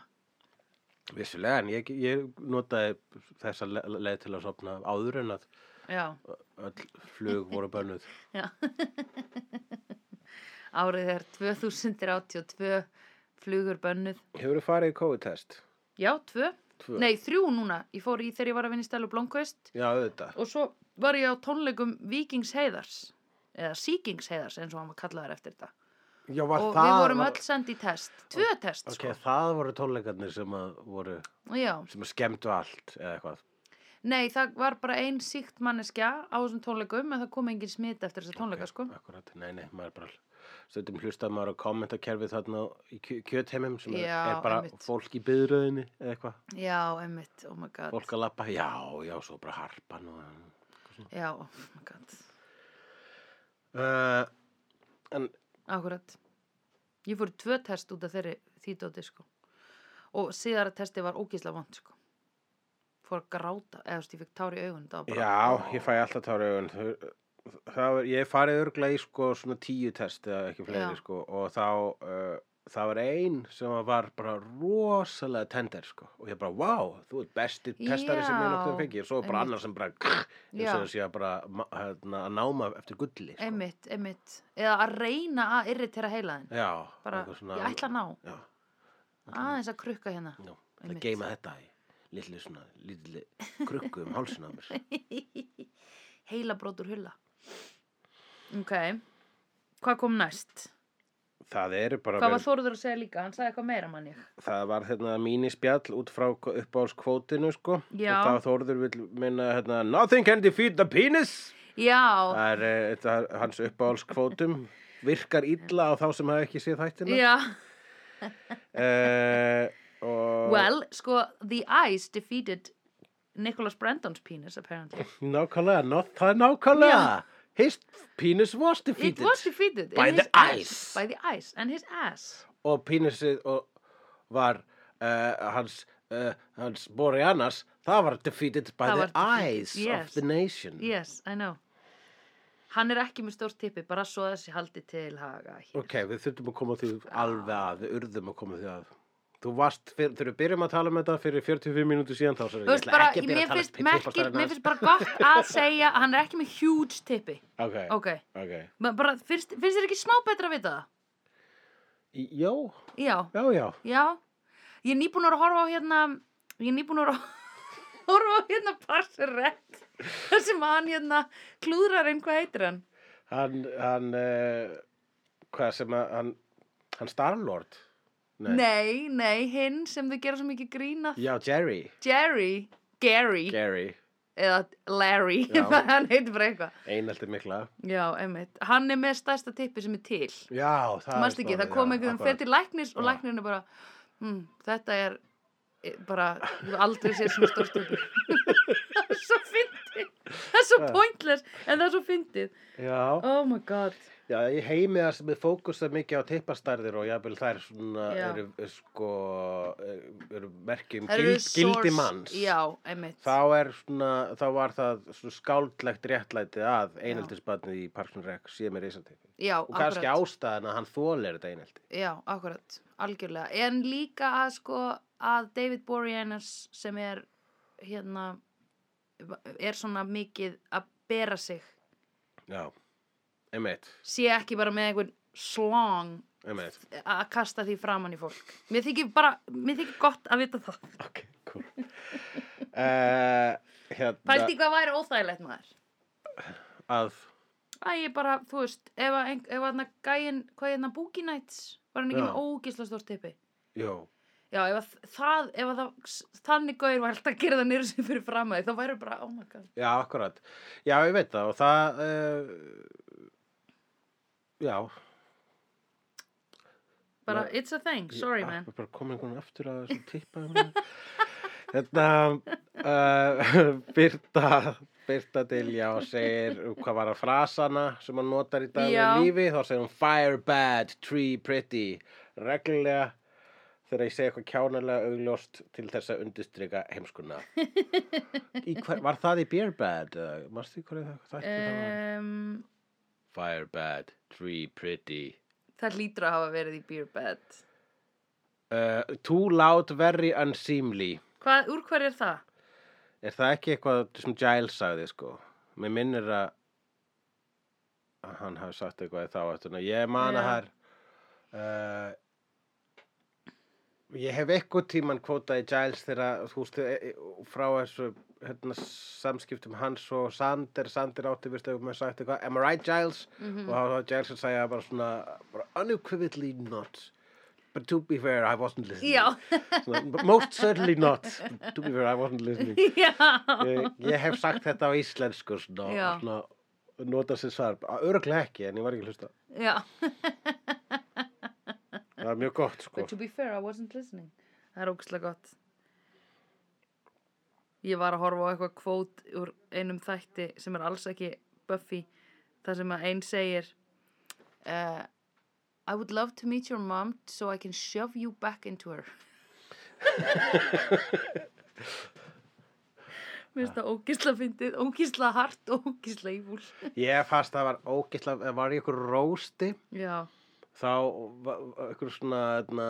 B: Vissulega, en ég, ég notaði þessa le- leið til að sopna áður en að
A: Já,
B: öll
A: *laughs*
B: flug voru bönnuð
A: já. Árið er 2082 flugur bönnuð.
B: Hefur þú farið í COVID-test?
A: Já, tvö.
B: Tvö?
A: Nei, þrjú núna. Ég fór í þegar ég var að vinna í Stælu Blomkvist
B: Já, auðvitað
A: og svo var ég á tónleikum Víkings Heiðars eða Sýkings Heiðars eins og hann var kallaður eftir þetta.
B: Já, var
A: og
B: það
A: við vorum
B: var-
A: öll sko. send í test. Tvö test,
B: Ok, það voru tónleikarnir sem að voru
A: sko. Já.
B: sem að skemmtu allt eða eitthvað
A: Nei, það var bara ein síkt manneskja á þessum tónleikum en það kom engin smit eftir þessa tónleika, sko.
B: Akkurat, nei, nei, maður er bara stundum hlustað maður á kommentakerfið þarna í kjö- kjötheimum sem er-
A: Já,
B: er bara
A: einmitt.
B: fólk í byðröðinni eða eitthvað,
A: Já, emmitt, oh my god.
B: fólk að lappa já, já, svo bara harpan og
A: Já, oh my god.
B: uh, en
A: Akkurat. Ég fór í tvö test út af þeirri þýtóti, sko. Og síðara testi var ógísla vond, sko. Fór að gráta, eða þú veist, ég fikk tár í augun, það var bara...
B: já, ég fæ alltaf tára augun Þau- það var, ég hef farið örglega í sko svona tíu test eða ekki fleiri
A: Já.
B: sko og þá uh, það var ein sem var bara rosalega tender sko og ég bara, wow, þú ert besti testari sem ég
A: Já,
B: náttúrulega fengi, svo bara
A: einmitt.
B: annar sem bara eins og
A: Já.
B: þessi að bara ma- hérna, að náma eftir gulli sko.
A: Emmitt, emmitt. Eða að reyna að irritera heilaðin.
B: Já,
A: Bara,
B: eitthvað svona-
A: ég ætla að ná,
B: Já,
A: aðeins að krukka hérna.
B: já, það
A: Einmitt.
B: geima þetta í litlu svona, litlu krukku um hálsinn á
A: *laughs*
B: mér.
A: Heilabrótur hulla. Ok, hvað kom næst?
B: Það eru bara,
A: Hvað var
B: verið-
A: Þorður að segja líka? Hann sagði eitthvað meira mann ég.
B: það var hérna mínispjall út frá uppáhalskvótinu sko.
A: Já.
B: Og það Þórður vil minna hérna, nothing can defeat the penis.
A: Já,
B: Það er eh, þetta, hans uppáhalskvótum. Virkar illa á þá sem hafa ekki séð þættina.
A: já.
B: Uh, og
A: Well, sko, the eyes defeated Nicholas Brandon's penis, apparently.
B: nákvæmlega, not, það er nákvæmlega.
A: Já.
B: His penis was
A: It
B: defeated.
A: was defeated. in
B: By
A: his
B: the eyes.
A: ass. By the eyes and his ass.
B: og pínusið og var uh, hans, uh, hans Boreanas, það var defeated by
A: Það
B: the
A: var defeated,
B: eyes
A: yes.
B: of the nation.
A: Yes, I know. Hann er ekki með stórt tippi, bara svo að þessi haldi til haga hér.
B: Ok, við þurfum að koma því alveg að, við urðum að koma því að. Þú varst, fyr, þegar við byrjum að tala um þetta fyrir 45 mínútu síðan, þá svo
A: Þú veist bara, mér
B: um
A: finnst, merkir, mér finnst bara gott að segja að hann er ekki með huge tippi.
B: Ok, ok.
A: Ok, Ma- bara, finnst, finnst þér ekki smá betra að vita það?
B: Í- Já,
A: Já,
B: já, já.
A: já. Ég er nýbúin að vera að horfa á hérna, ég er nýbúin að *laughs* vera að horfa á hérna Parserett. Það sem hann hérna klúðrar einn, hvað heitir hann?
B: Hann, hann, uh, hvað sem að, hann, hann Starlord.
A: Nei, nei, hinn sem þau gera svo mikið grína.
B: Já, Jerry.
A: Jerry, Gary,
B: Gary,
A: eða Larry,
B: Já.
A: *laughs* hann heitir bara eitthvað.
B: einaldi mikla.
A: Já, einmitt. Hann er með stærsta tippi sem er til.
B: Já, það er
A: Manst ekki,
B: stórið,
A: það kom
B: já,
A: einhvern veginn
B: akkurat.
A: fyrir til læknis og
B: Já.
A: læknirinn er bara, hm, þetta er eh, *laughs* e, bara, ég hef aldrei séð svona stórt uppi. svo fyndi. það er svo pointless en það er svo fyndið
B: Já,
A: oh my god
B: já ég heimi það sem er fókusað mikið á tippastærðir og jafnvel þær svona
A: Já.
B: eru eh, sko eh, eru merki um
A: Það
B: gild,
A: eru
B: gildi
A: source-
B: manns.
A: já, einmitt
B: Þá er svona, þá var það svona skáldlegt réttlætið að einheldisbarnið í Parkson Rec sé með reisatipi.
A: já,
B: Og kannski
A: akkurat.
B: ástæðan að hann þólir þetta einhelti.
A: Já, akkurat, algjörlega. En líka að sko að David Boreanaz sem er hérna er svona mikið að bera sig
B: Já, einmitt,
A: sé ekki bara með einhvern slong
B: einmitt.
A: að kasta því framann í fólk. Mér þykir bara, mér þykir gott að vita það.
B: Ok, cool. uh, hérna,
A: Pældi hvað væri óþægilegt maður.
B: að,
A: Æ, ég bara, þú veist, ef að ein- ef að hérna gæinn, hvað er hérna Boogie Nights? Var hann ekki
B: Já.
A: með ógisla stórt tippi?
B: jú,
A: Já, ef að það, ef að það, þannig gaur var alltaf að gera það nýrðu sem fyrir fram að því, þá væri bara, oh my god.
B: já, akkurat. Já, ég veit það og það, uh, já.
A: Bara,
B: Ma-
A: it's a thing, sorry man.
B: Ég bara kom einhvern aftur að þessu tippa. um það. hérna, uh, *laughs* Birta, Birta Dilja og segir um hvað var að frasana sem hann notar í dag
A: Já.
B: með lífi. Þá segir hún fire bad, tree pretty, reglulega þegar ég segi eitthvað kjánalega augljóst til þess að undistryka heimskuna. Í hver, var það í beer bad? Marstu hverju það þætti það var?
A: Um,
B: Fire bad, tree pretty.
A: það hlýtur að hafa verið í beer bed.
B: Uh, too loud, very unseemly.
A: Hvað, úr hver er það? *laughs*
B: Er það ekki eitthvað sem Giles sagði sko? Mér minnir að að hann hafi sagt eitthvað í þá eftirna. Ég man að
A: Já.
B: það er uh, ég hef eitthvað tíman kvótaði Giles þegar þú veist e- e- frá þessu hérna, samskiptum hans og Sander Sander átti vist ef maður sagt eitthvað Am I right Giles?
A: Mhm.
B: og þá var Giles að segja bara svona bara unequivocally not but to be fair I wasn't listening
A: Já,
B: Svona, "But most certainly not but to be fair I wasn't listening
A: já,
B: ég, ég hef sagt þetta á íslensku svona,
A: Já.
B: og svona nota sér svar, örglega ekki en ég var ekki að hlusta,
A: já.
B: það er mjög gott sko.
A: But to be fair, I wasn't listening. Það er ógustlega gott. Ég var að horfa á eitthvað kvót úr einum þætti sem er alls ekki Buffy, þar sem að einn segir uh, I would love to meet your mom so I can shove you back into her. *laughs* Mér finnst það ógisla fyndið, ógisla hart og ógisla íbúl.
B: ég fannst það var ógisla var ég ykkur rósti
A: Já,
B: þá var var ykkur svona na,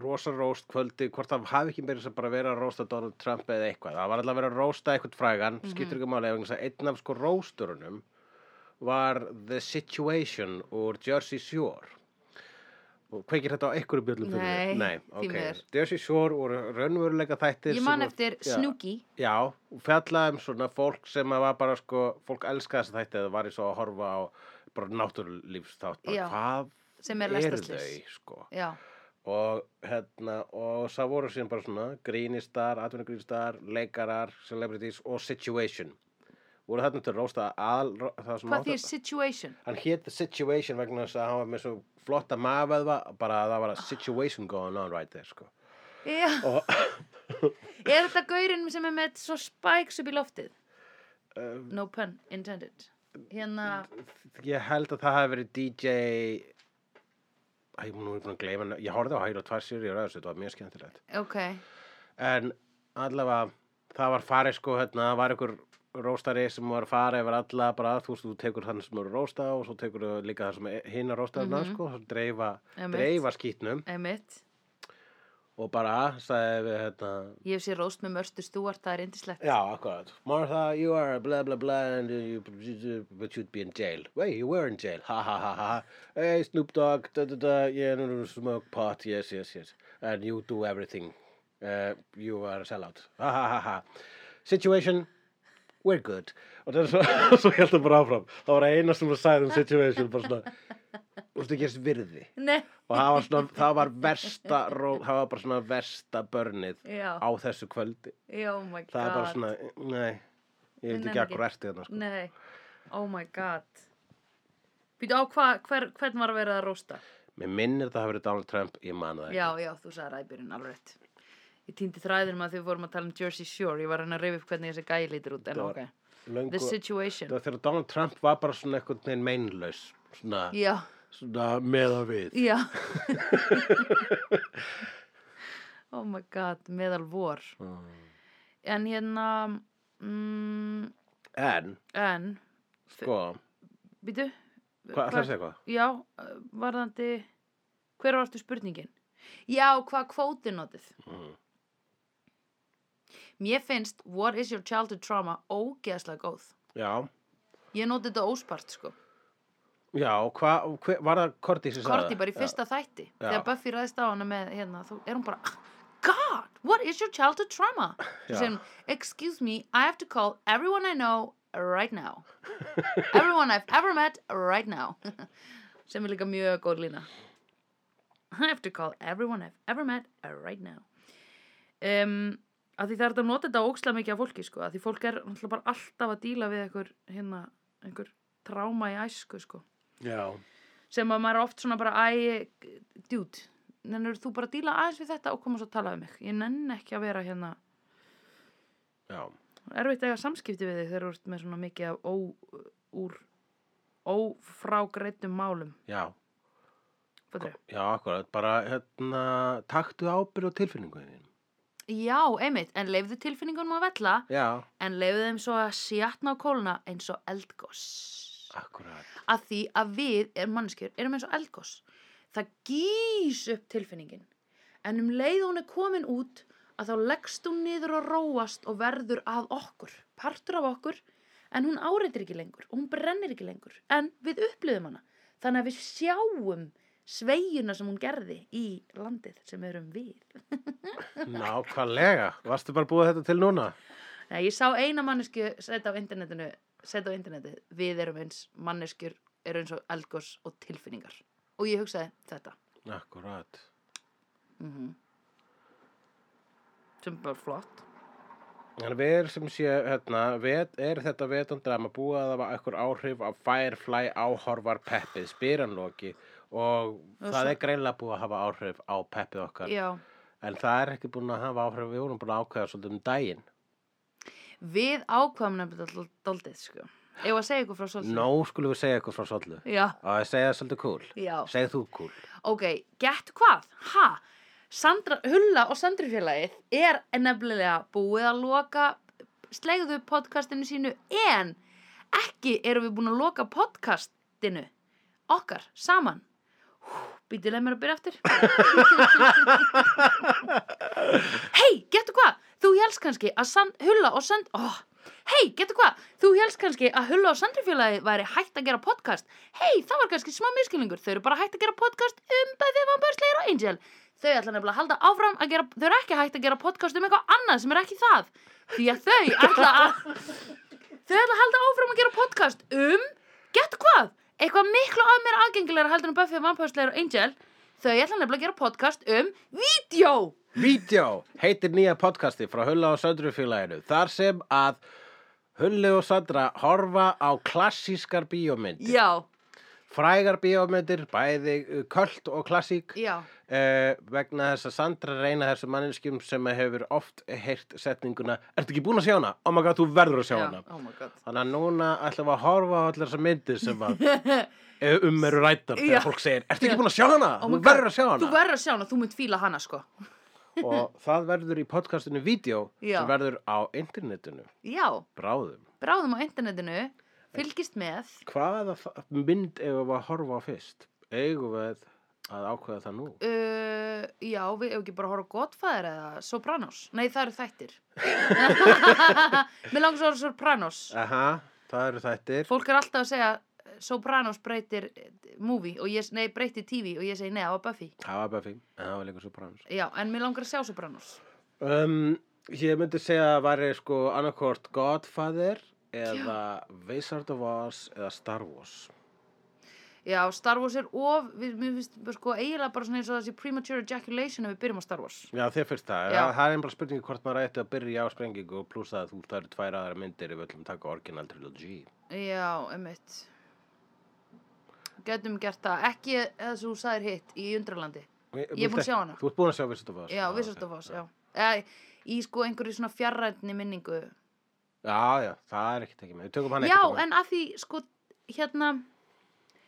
B: rosa róst kvöldi hvort það hafi ekki meira sem bara verið að rósta Donald Trump eða eitthvað, það var alltaf verið að rósta eitthvað frægan,
A: Mhm.
B: skiptir ekki máli vegna þess að einn af sko rósturunum var The Situation úr Jersey Shore og kveikir þetta á einhverju bjöllum fyrir
A: Nei,
B: þér? Nei
A: því
B: ok.
A: miður.
B: Jersey Shore voru raunveruleika þættir
A: ég
B: sem
A: man
B: voru-
A: eftir
B: Já.
A: Snooki.
B: Já, fjallaðum svona fólk sem að var bara sko, fólk elskaði þess að þetta eða var í svo að horfa á bara náttúrulífstátt, bara
A: Já,
B: hvað
A: sem er
B: eru
A: lestarslys.
B: þau sko
A: Já,
B: og hérna, og það voru síðan bara svona grínistar, atvinnugrínistar, leikarar, celebrities og situation voru þarna til að rósta aðal, það sem
A: hvað
B: átti-
A: því er situation?
B: hann hét The Situation vegna þess að hann var með svo flotta maföðva, bara að það var að situation going on right there sko
A: Já.
B: og
A: *laughs* Er þetta gaurinn sem er með svo spikes upp í loftið?
B: uh,
A: No pun intended. Hérna,
B: Ég held að það hafi verið DJ Æ, nú er ég búin að gleyma hann Ég horfði á hægir og tvær sér í ræðast Þetta var mjög skemmtilegt
A: ok.
B: En allavega, það var farið sko hérna, Það var einhver róstari sem var að fara yfir alla bara þú veist, þú tekur þann sem eru að rósta og svo tekur þú líka það sem er- hinn að rósta mm sko, svo dreifa,
A: Einmitt.
B: dreifa skítnum
A: Einmitt.
B: og bara sagði við hérna
A: Ég hef sér róst með mörstu stúart, það er indislegt.
B: Já, akkurat. Martha, you are blah, blah, blah, and you, you- but you'd be in jail. Wait, you were in jail. Ha, ha, ha, ha. Hey, Snoop Dogg, da, da, da, yeah, no, no, smoke pot, yes, yes, yes. And you do everything. Uh, you are a sellout. Ha, ha, ha, ha. Situation, we're good. Og það er svo, *laughs* svo held það bara áfram. Það var eina sem var sæðum situation, bara svona, þú veist ekki þess virði.
A: Nei,
B: Og það var svona, það var versta, ró- það var bara svona versta börnið
A: já,
B: á þessu kvöldi.
A: já, oh my god.
B: Það er bara svona, nei, ég
A: nenni
B: veit ekki
A: ekki.
B: akkur ertu þarna, sko.
A: Nei, oh my god. Býtu á hvað, hver, hvern var að vera að rósta?
B: Mér minnir það hafi verið Donald Trump, ég man það ekki.
A: Já, já, þú sagði ræðbyrjun alveg rétt. Ég týndi þræðinum að því við vorum að tala um Jersey Shore. Ég var hann að reyfa upp hvernig þessi gæi lítur út. En
B: Þetta
A: ok,
B: var- Löngu,
A: the situation.
B: það þegar Donald Trump var bara svona eitthvað neginn meinlaus svona,
A: Já,
B: svona með að við *laughs*
A: já. oh my god, meðal vor.
B: Mm.
A: En hérna, mm,
B: en
A: en,
B: sko,
A: býtu?
B: hvað ætlar að segja eitthvað?
A: Já, eh, varðandi, hver var aftur spurningin? Já, hvað kvóti notið?
B: Mm.
A: Mér finnst What is your childhood trauma ógeðslega góð.
B: já,
A: Ég noti þetta óspart, sko.
B: já, hvað hve- var það Korti sem sagði
A: Korti bara í fyrsta þætti.
B: Já.
A: Þegar Buffy ræðist á hana með, hérna, þá er hún bara, "Ah, God, what is your childhood trauma?
B: Já.
A: Svo segir hún, excuse me, I have to call everyone I know right now. everyone I've ever met right now. *laughs* Sem er líka mjög góð lína. I have to call everyone I've ever met right now. Um, að því það er hægt að nota þetta ókslega mikið af fólki, sko. Að því fólk er náttúrulega bara alltaf að díla við einhver, hérna, einhver tráma í æsku, sko
B: já,
A: sem að maður er oft svona bara æ, djút, nennur þú bara að díla aðeins við þetta og koma svo að tala um mig ég nenn ekki að vera hérna
B: já,
A: erfitt að eiga samskipti við þig þegar þú ert með svona mikið af ó, úr ófrágreittum málum
B: já
A: Fattarðu?
B: já, akkurat, bara hérna, taktu ábyrð og tilfinningu þín
A: já, einmitt, en leifðu tilfinningunum að vella
B: já,
A: en leifðu þeim svo að sjatna á kóluna eins og eldgoss *laughs*
B: akkurat
A: að því að við er mannskjör erum eins og eldgós það gýs upp tilfinningin en um leið og hún er komin út að þá leggst hún niður og róast og verður að okkur, partur af okkur en hún áreitir ekki lengur og hún brennir ekki lengur en við upplifum hana þannig að við sjáum sveigjuna sem hún gerði í landið sem erum við
B: nákvæmlega, varstu bara búið þetta til núna
A: Nei, ég sá eina mannesku setja á internetinu setja á internetið, við erum eins manneskjur eru eins og eldgós og tilfinningar og ég hugsaði þetta
B: akkurat,
A: Mhm. sem er bara flott
B: en við erum sem sé hérna, vet, er þetta vetundrama búið að það var eitthvað áhrif af Firefly áhorfar Peppið, spyranloki og það
A: svo-
B: er greinlega búið að hafa áhrif á Peppið okkar
A: Já.
B: en það er ekki búin að hafa áhrif við vorum búin að ákveða svolítið um daginn
A: Við ákvæmum nefnilega doldið, sko. Ef að segja ykkur frá svolítið.
B: Nó skulum við segja eitthvað frá svollu
A: Já,
B: og ég segja það svolítið cool
A: já.
B: segð þú cool
A: Ok, gett hvað? Ha? Sandra, Hulla og Sandrufélagið er nefnilega búið að loka slegðu podcastinu sínu en ekki erum við búin að loka podcastinu okkar saman. Býtu leið mér að byrja aftur. Hei, getur hvað? Þú helst kannski að sand, Hulla og Sand... Oh. Hei, getur hvað? Þú helst kannski að Hulla og Sandrifélagi væri hægt að gera podcast. Hei, það var kannski smá miskilningur. Þau eru bara hægt að gera podcast um Buffy Vampyrsleir og Angel. Þau ætla nefnilega að halda áfram að gera... Þau eru ekki hægt að gera podcast um eitthvað annað sem er ekki það. Því að þau ætla að... þau ætla að halda áfram að gera podcast um... Getur hvað? Eitthvað miklu að mér aðgengilega heldur en Buffy Vampyrsleir og Angel. Þau ætla nefnilega að gera podcast um vídeo.
B: Vídeó heitir nýja podcasti frá Hulla og Söndrufélaginu þar sem að Hulli og Sandra horfa á klassískar bíómyndir,
A: Já,
B: frægar bíómyndir, bæði uh, költ og klassík
A: já.
B: eh, vegna þess að Sandra reyna þessu manneskjum sem hefur oft heyrt setninguna Ertu ekki búin að sjá hana? Oh my god, þú verður að sjá hana
A: Oh my god.
B: Þannig að núna ætlum við að horfa á allar þessar myndir sem
A: *laughs*
B: að eh, um eru rættar
A: Já.
B: þegar fólk segir Ertu ekki búin að sjá hana?
A: Oh my
B: þú
A: God.
B: verður að sjá hana
A: Þú verður að sjá hana, þú mynd fíla hana sko.
B: og það verður í podcastinu vídeo
A: Já.
B: sem verður á internetinu
A: Já,
B: bráðum.
A: bráðum á internetinu, fylgist með.
B: Hvaða þa- mynd eigum við að horfa á fyrst? Eigum við að ákveða það nú?
A: Uh, já, við hefum ekki bara að horfa Godfather eða Sopranos. Nei, það eru
B: *laughs*
A: þættir. Mér langar svo að horfa á Sopranos.
B: Aha, það eru þættir.
A: Fólk er alltaf að segja eh, Sopranos breytir eh, movie og ég, nei, breytir TV og ég segi nei, það var Buffy.
B: Það var Buffy, en það var líka Sopranos.
A: Já, en mér langar að sjá Sopranos.
B: Um, ég myndi segja að það væri sko annarkort Godfather eða Wizard of Oz eða Star Wars.
A: Já, Star Wars er of, við, mér finnst sko eiginlega bara svona eins og þessi premature ejaculation ef við byrjum á Star Wars.
B: Já, þér fyrst það.
A: Já.
B: Það, það er einhverja spurningi hvort maður ætti að byrja á sprengingu og pluss að þú það eru tvær aðra myndir ef við ætlum að taka original trilogy.
A: Já, einmitt Gætum gert það Ekki eða svo þú sagðir hitt í Undralandi Ég er búin að sjá hana.
B: Þú ert búin að sjá Wizard of Oz
A: Já,
B: ok.
A: Wizard of Oz, já eða, í sko einhverju svona fjarrætni minningu
B: Já, já, það er ekkert ekki með. Við tökum hann
A: já,
B: ekkert
A: en að því sko hérna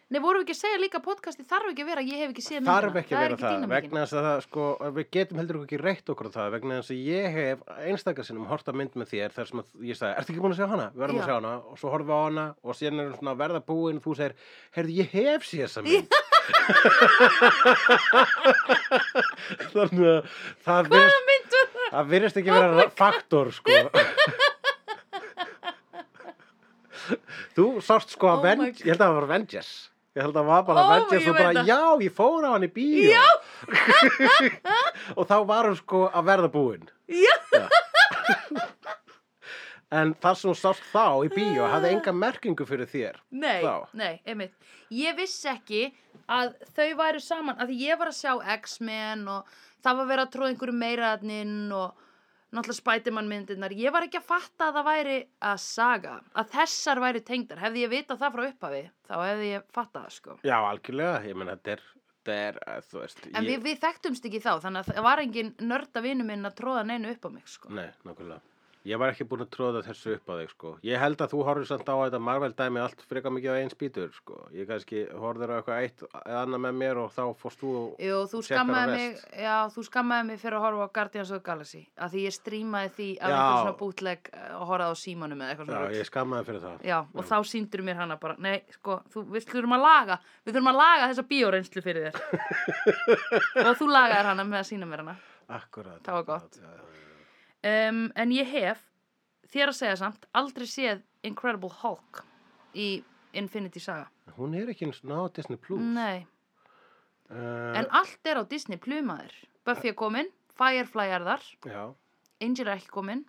A: nei, vorum við ekki að segja líka að podcasti þarf ekki að vera, ég hef ekki séð
B: Þarf ekki að
A: það er
B: vera það,
A: dýnamíkin.
B: vegna þess að það, sko, við getum heldur ekki reitt okkur á það, vegna þess að ég hef einstakarsinnum hort að mynd með þér þar sem að ég sagði, ertu ekki búin að sjá hana? Við verðum
A: Já.
B: að sjá hana og svo horfum við á hana og síðan erum við svona að verða búin og þú segir, heyrðu, ég hef séð þessa mynd. *laughs* Þannig að það
A: hvaða
B: virðist,
A: mynd var það? Oh
B: það virðist ekki vera faktor, sko. þú sást sko
A: Oh my
B: að Avengers, ég held að það var Avengers. Ég held að það var bara
A: Ó,
B: Avengers
A: ég
B: og
A: veit
B: bara,
A: það.
B: já, ég fór á hann í bíó.
A: já,
B: *laughs* og þá var hún sko að verða búin
A: já,
B: *laughs* en þar sem hún sást þá í bíó hafði enga merkingu fyrir þér
A: nei,
B: Þá.
A: nei, einmitt ég vissi ekki að þau væru saman, að því ég var að sjá X-Men og það var verið að tróða einhverju meiraðnin og náttúrulega Spiderman myndirnar, ég var ekki að fatta að það væri að saga, að þessar væri tengdar, hefði ég vitað það frá upphafi þá hefði ég fattað það sko
B: já algjörlega, ég meina þetta er, þetta er eh, þú veist
A: En
B: ég,
A: við, við þekktumst ekki þá, þannig að það var engin nörda vinu minn að tróða neinu upp á mig, sko.
B: nei, nákvæmlega ég var ekki búin að tróða þessu upp á þig sko ég held að þú horfður samt á þetta Marvel dæmi allt frekar mikið á einn spýtur sko ég kannski horfður á eitthvað eitt eða annað með mér og þá fórst þú og-
A: Jú, þú
B: Checkar
A: skammaði
B: og
A: mig,
B: rest.
A: já, þú skammaði mig fyrir að horfa á Guardians of the Galaxy, að því ég strímaði því af
B: Já.
A: einhver svona bútleg og horfaði á símanum eða eitthvað
B: já,
A: svona.
B: ég skammaði fyrir það
A: já, og þá síndur mér hana bara, nei, sko, þú, við þurfum að laga, við þurfum að laga þessa bíóreynslu fyrir þér.
B: *laughs*
A: og þú lagaðir hana með að sína mér hana.
B: akkurat
A: Það var gott.
B: já, já, já.
A: Um, en ég hef, þér að segja samt, aldrei séð Incredible Hulk í Infinity Saga.
B: hún er ekki eins og ná Disney Plus
A: Nei.
B: uh,
A: En allt er á Disney plumaður. Buffy er komin, Firefly er þar,
B: já,
A: Angel er ekki komin.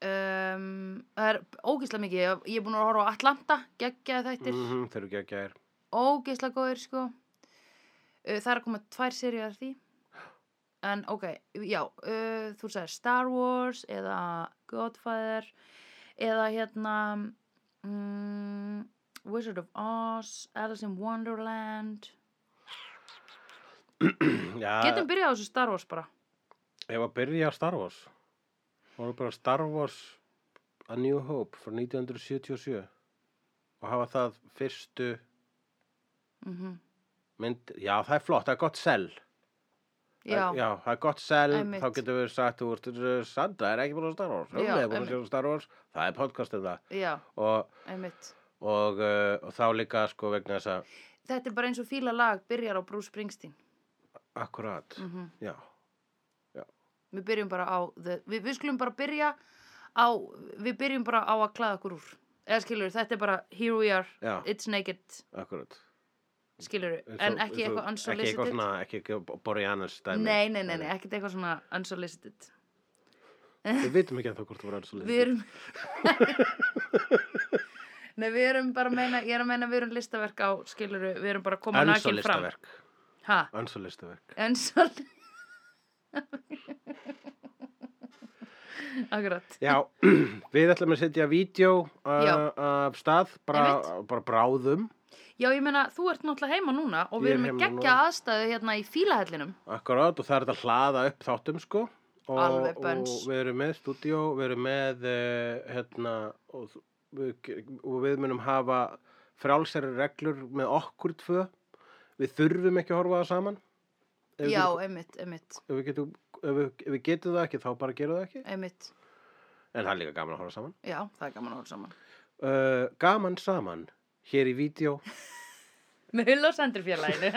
A: Um, það er ógeðslega mikið. Ég- Ég er búin að horfa á Atlanta, geggjaði þættir.
B: mm
A: Mm.
B: -hmm, þeir eru ekki að gæra
A: Ógeðslega góðir, sko. Uh, það er að koma tvær seríu af því. En ok, já, uh, þú sagðir Star Wars eða Godfather eða hérna mm, Wizard of Oz, Alice in Wonderland. Getum byrjað á þessu Star Wars bara.
B: Ef að byrja á Star Wars voru bara Star Wars A New Hope frá 1977 og hafa það fyrstu
A: Mm
B: mynd já það er flott, það er gott sell
A: Já,
B: Það- já það er gott sell,
A: Einmitt.
B: þá getum við sagt þú ert uh, Sandra, er ekki búin á Star Wars
A: Já,
B: Rúna er búin
A: einmitt.
B: að sjá Star Wars, það er podcastið það
A: já,
B: og,
A: einmitt.
B: og, uh, og þá líka sko vegna þess að
A: Þetta er bara eins og fíla lag byrjar á Bruce Springsteen.
B: akkurat,
A: Mm
B: já
A: Við byrjum bara á, the, við, við skulum bara byrja á, við byrjum bara á að klæða okkur úr. Eða skilur, þetta er bara, here we are,
B: Já.
A: it's naked,
B: akkurat
A: skilur,
B: Eins
A: en
B: og-
A: ekki
B: eins
A: eitthvað
B: og- ekki
A: unsolicited.
B: eitthvað svona, ekki eitthvað Boreanaz dæmi
A: Nei, nei, nei, nei, ekkert eitthvað svona unsolicited.
B: við vitum ekki að það hvort það var unsolicited
A: Við
B: *laughs*
A: erum... Nei, við erum bara að meina, ég er að meina við erum listaverk á, skilur, við erum bara að koma nakin fram.
B: Önsulistaverk
A: Ha,
B: Önsulistaverk *laughs*
A: Unsolicited. Akkurat.
B: Já, *clears throat* við ætlum að setja vídeo
A: Já.
B: uh, af stað, bara,
A: Einmitt.
B: bara bráðum
A: Já, ég meina, þú ert náttúrulega heima núna og
B: Ég
A: við
B: er
A: erum með
B: heima
A: geggja
B: núna.
A: aðstæðu hérna í fílahellinum.
B: akkurát og það er þetta að hlaða upp þáttum sko og,
A: Alveg
B: og
A: buns.
B: við erum með stúdíó, við erum með uh, hérna og, þú- við, og við munum hafa frálsæri reglur með okkur tvö við þurfum ekki að horfa það saman ef
A: Já,
B: við,
A: einmitt, einmitt,
B: ef við, getum, ef, við, ef við getum það ekki þá bara gerum við það ekki
A: einmitt.
B: en það er líka gaman að horfa saman
A: Já, það er gaman að hóla saman.
B: uh, gaman saman hér í vídeo
A: *laughs* Með hull og sendur félaginu.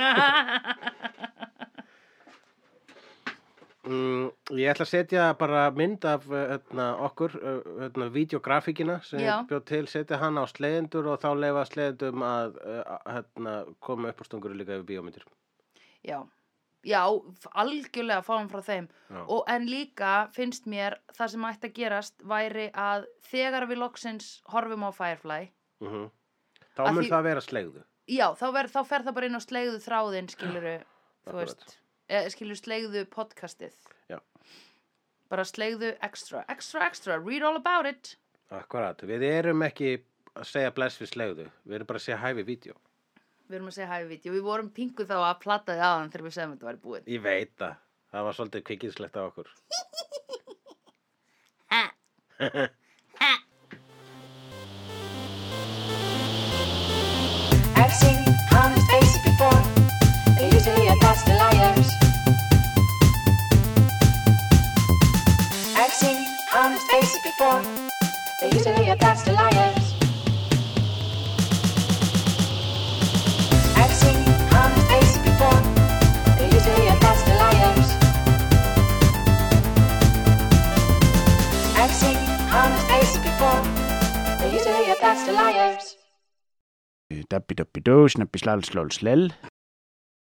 B: Mm, ég ætla að setja bara mynd af uh, hérna, okkur, uh, hérna, videografíkina sem
A: Já.
B: ég bjóð til, setja hana á sleiðendur og þá leifa sleiðendum að uh, hérna, koma upp á stungur líka yfir bíómyndir.
A: *laughs* Já, já, f- algjörlega fáum frá þeim.
B: Já.
A: Og en líka finnst mér það sem ætti að gerast væri að þegar við loksins horfum á Firefly,
B: Mhm. Þá
A: Að
B: mun
A: því-
B: það vera slegðu.
A: já, þá, ver, þá fer það bara inn á slegðu þráðinn, skiluru, þú
B: Akkurat.
A: veist, eh, skiluru slegðu podcastið.
B: Já.
A: Bara slegðu extra, extra, extra, read all about it.
B: Akkurat, við erum ekki að segja bless við slegðu, við erum bara að segja hæ við vídeo.
A: Við erum að segja hæfi vídeo. Við vorum pingu þá að platta þið aðan þegar við segðum að þetta væri búið.
B: Ég veit það, Það var svolítið kvikinslegt af okkur.
A: Ha. Ha.
D: I've seen honest faces before. They're usually a pass to liars. I've seen honest faces before. They're usually a pass to liars. I've seen honest faces before. They're usually a pass to liars. I've seen honest faces before. They're usually a pass to liars.
E: Dabbi dabbi dó, snabbi slal slól slell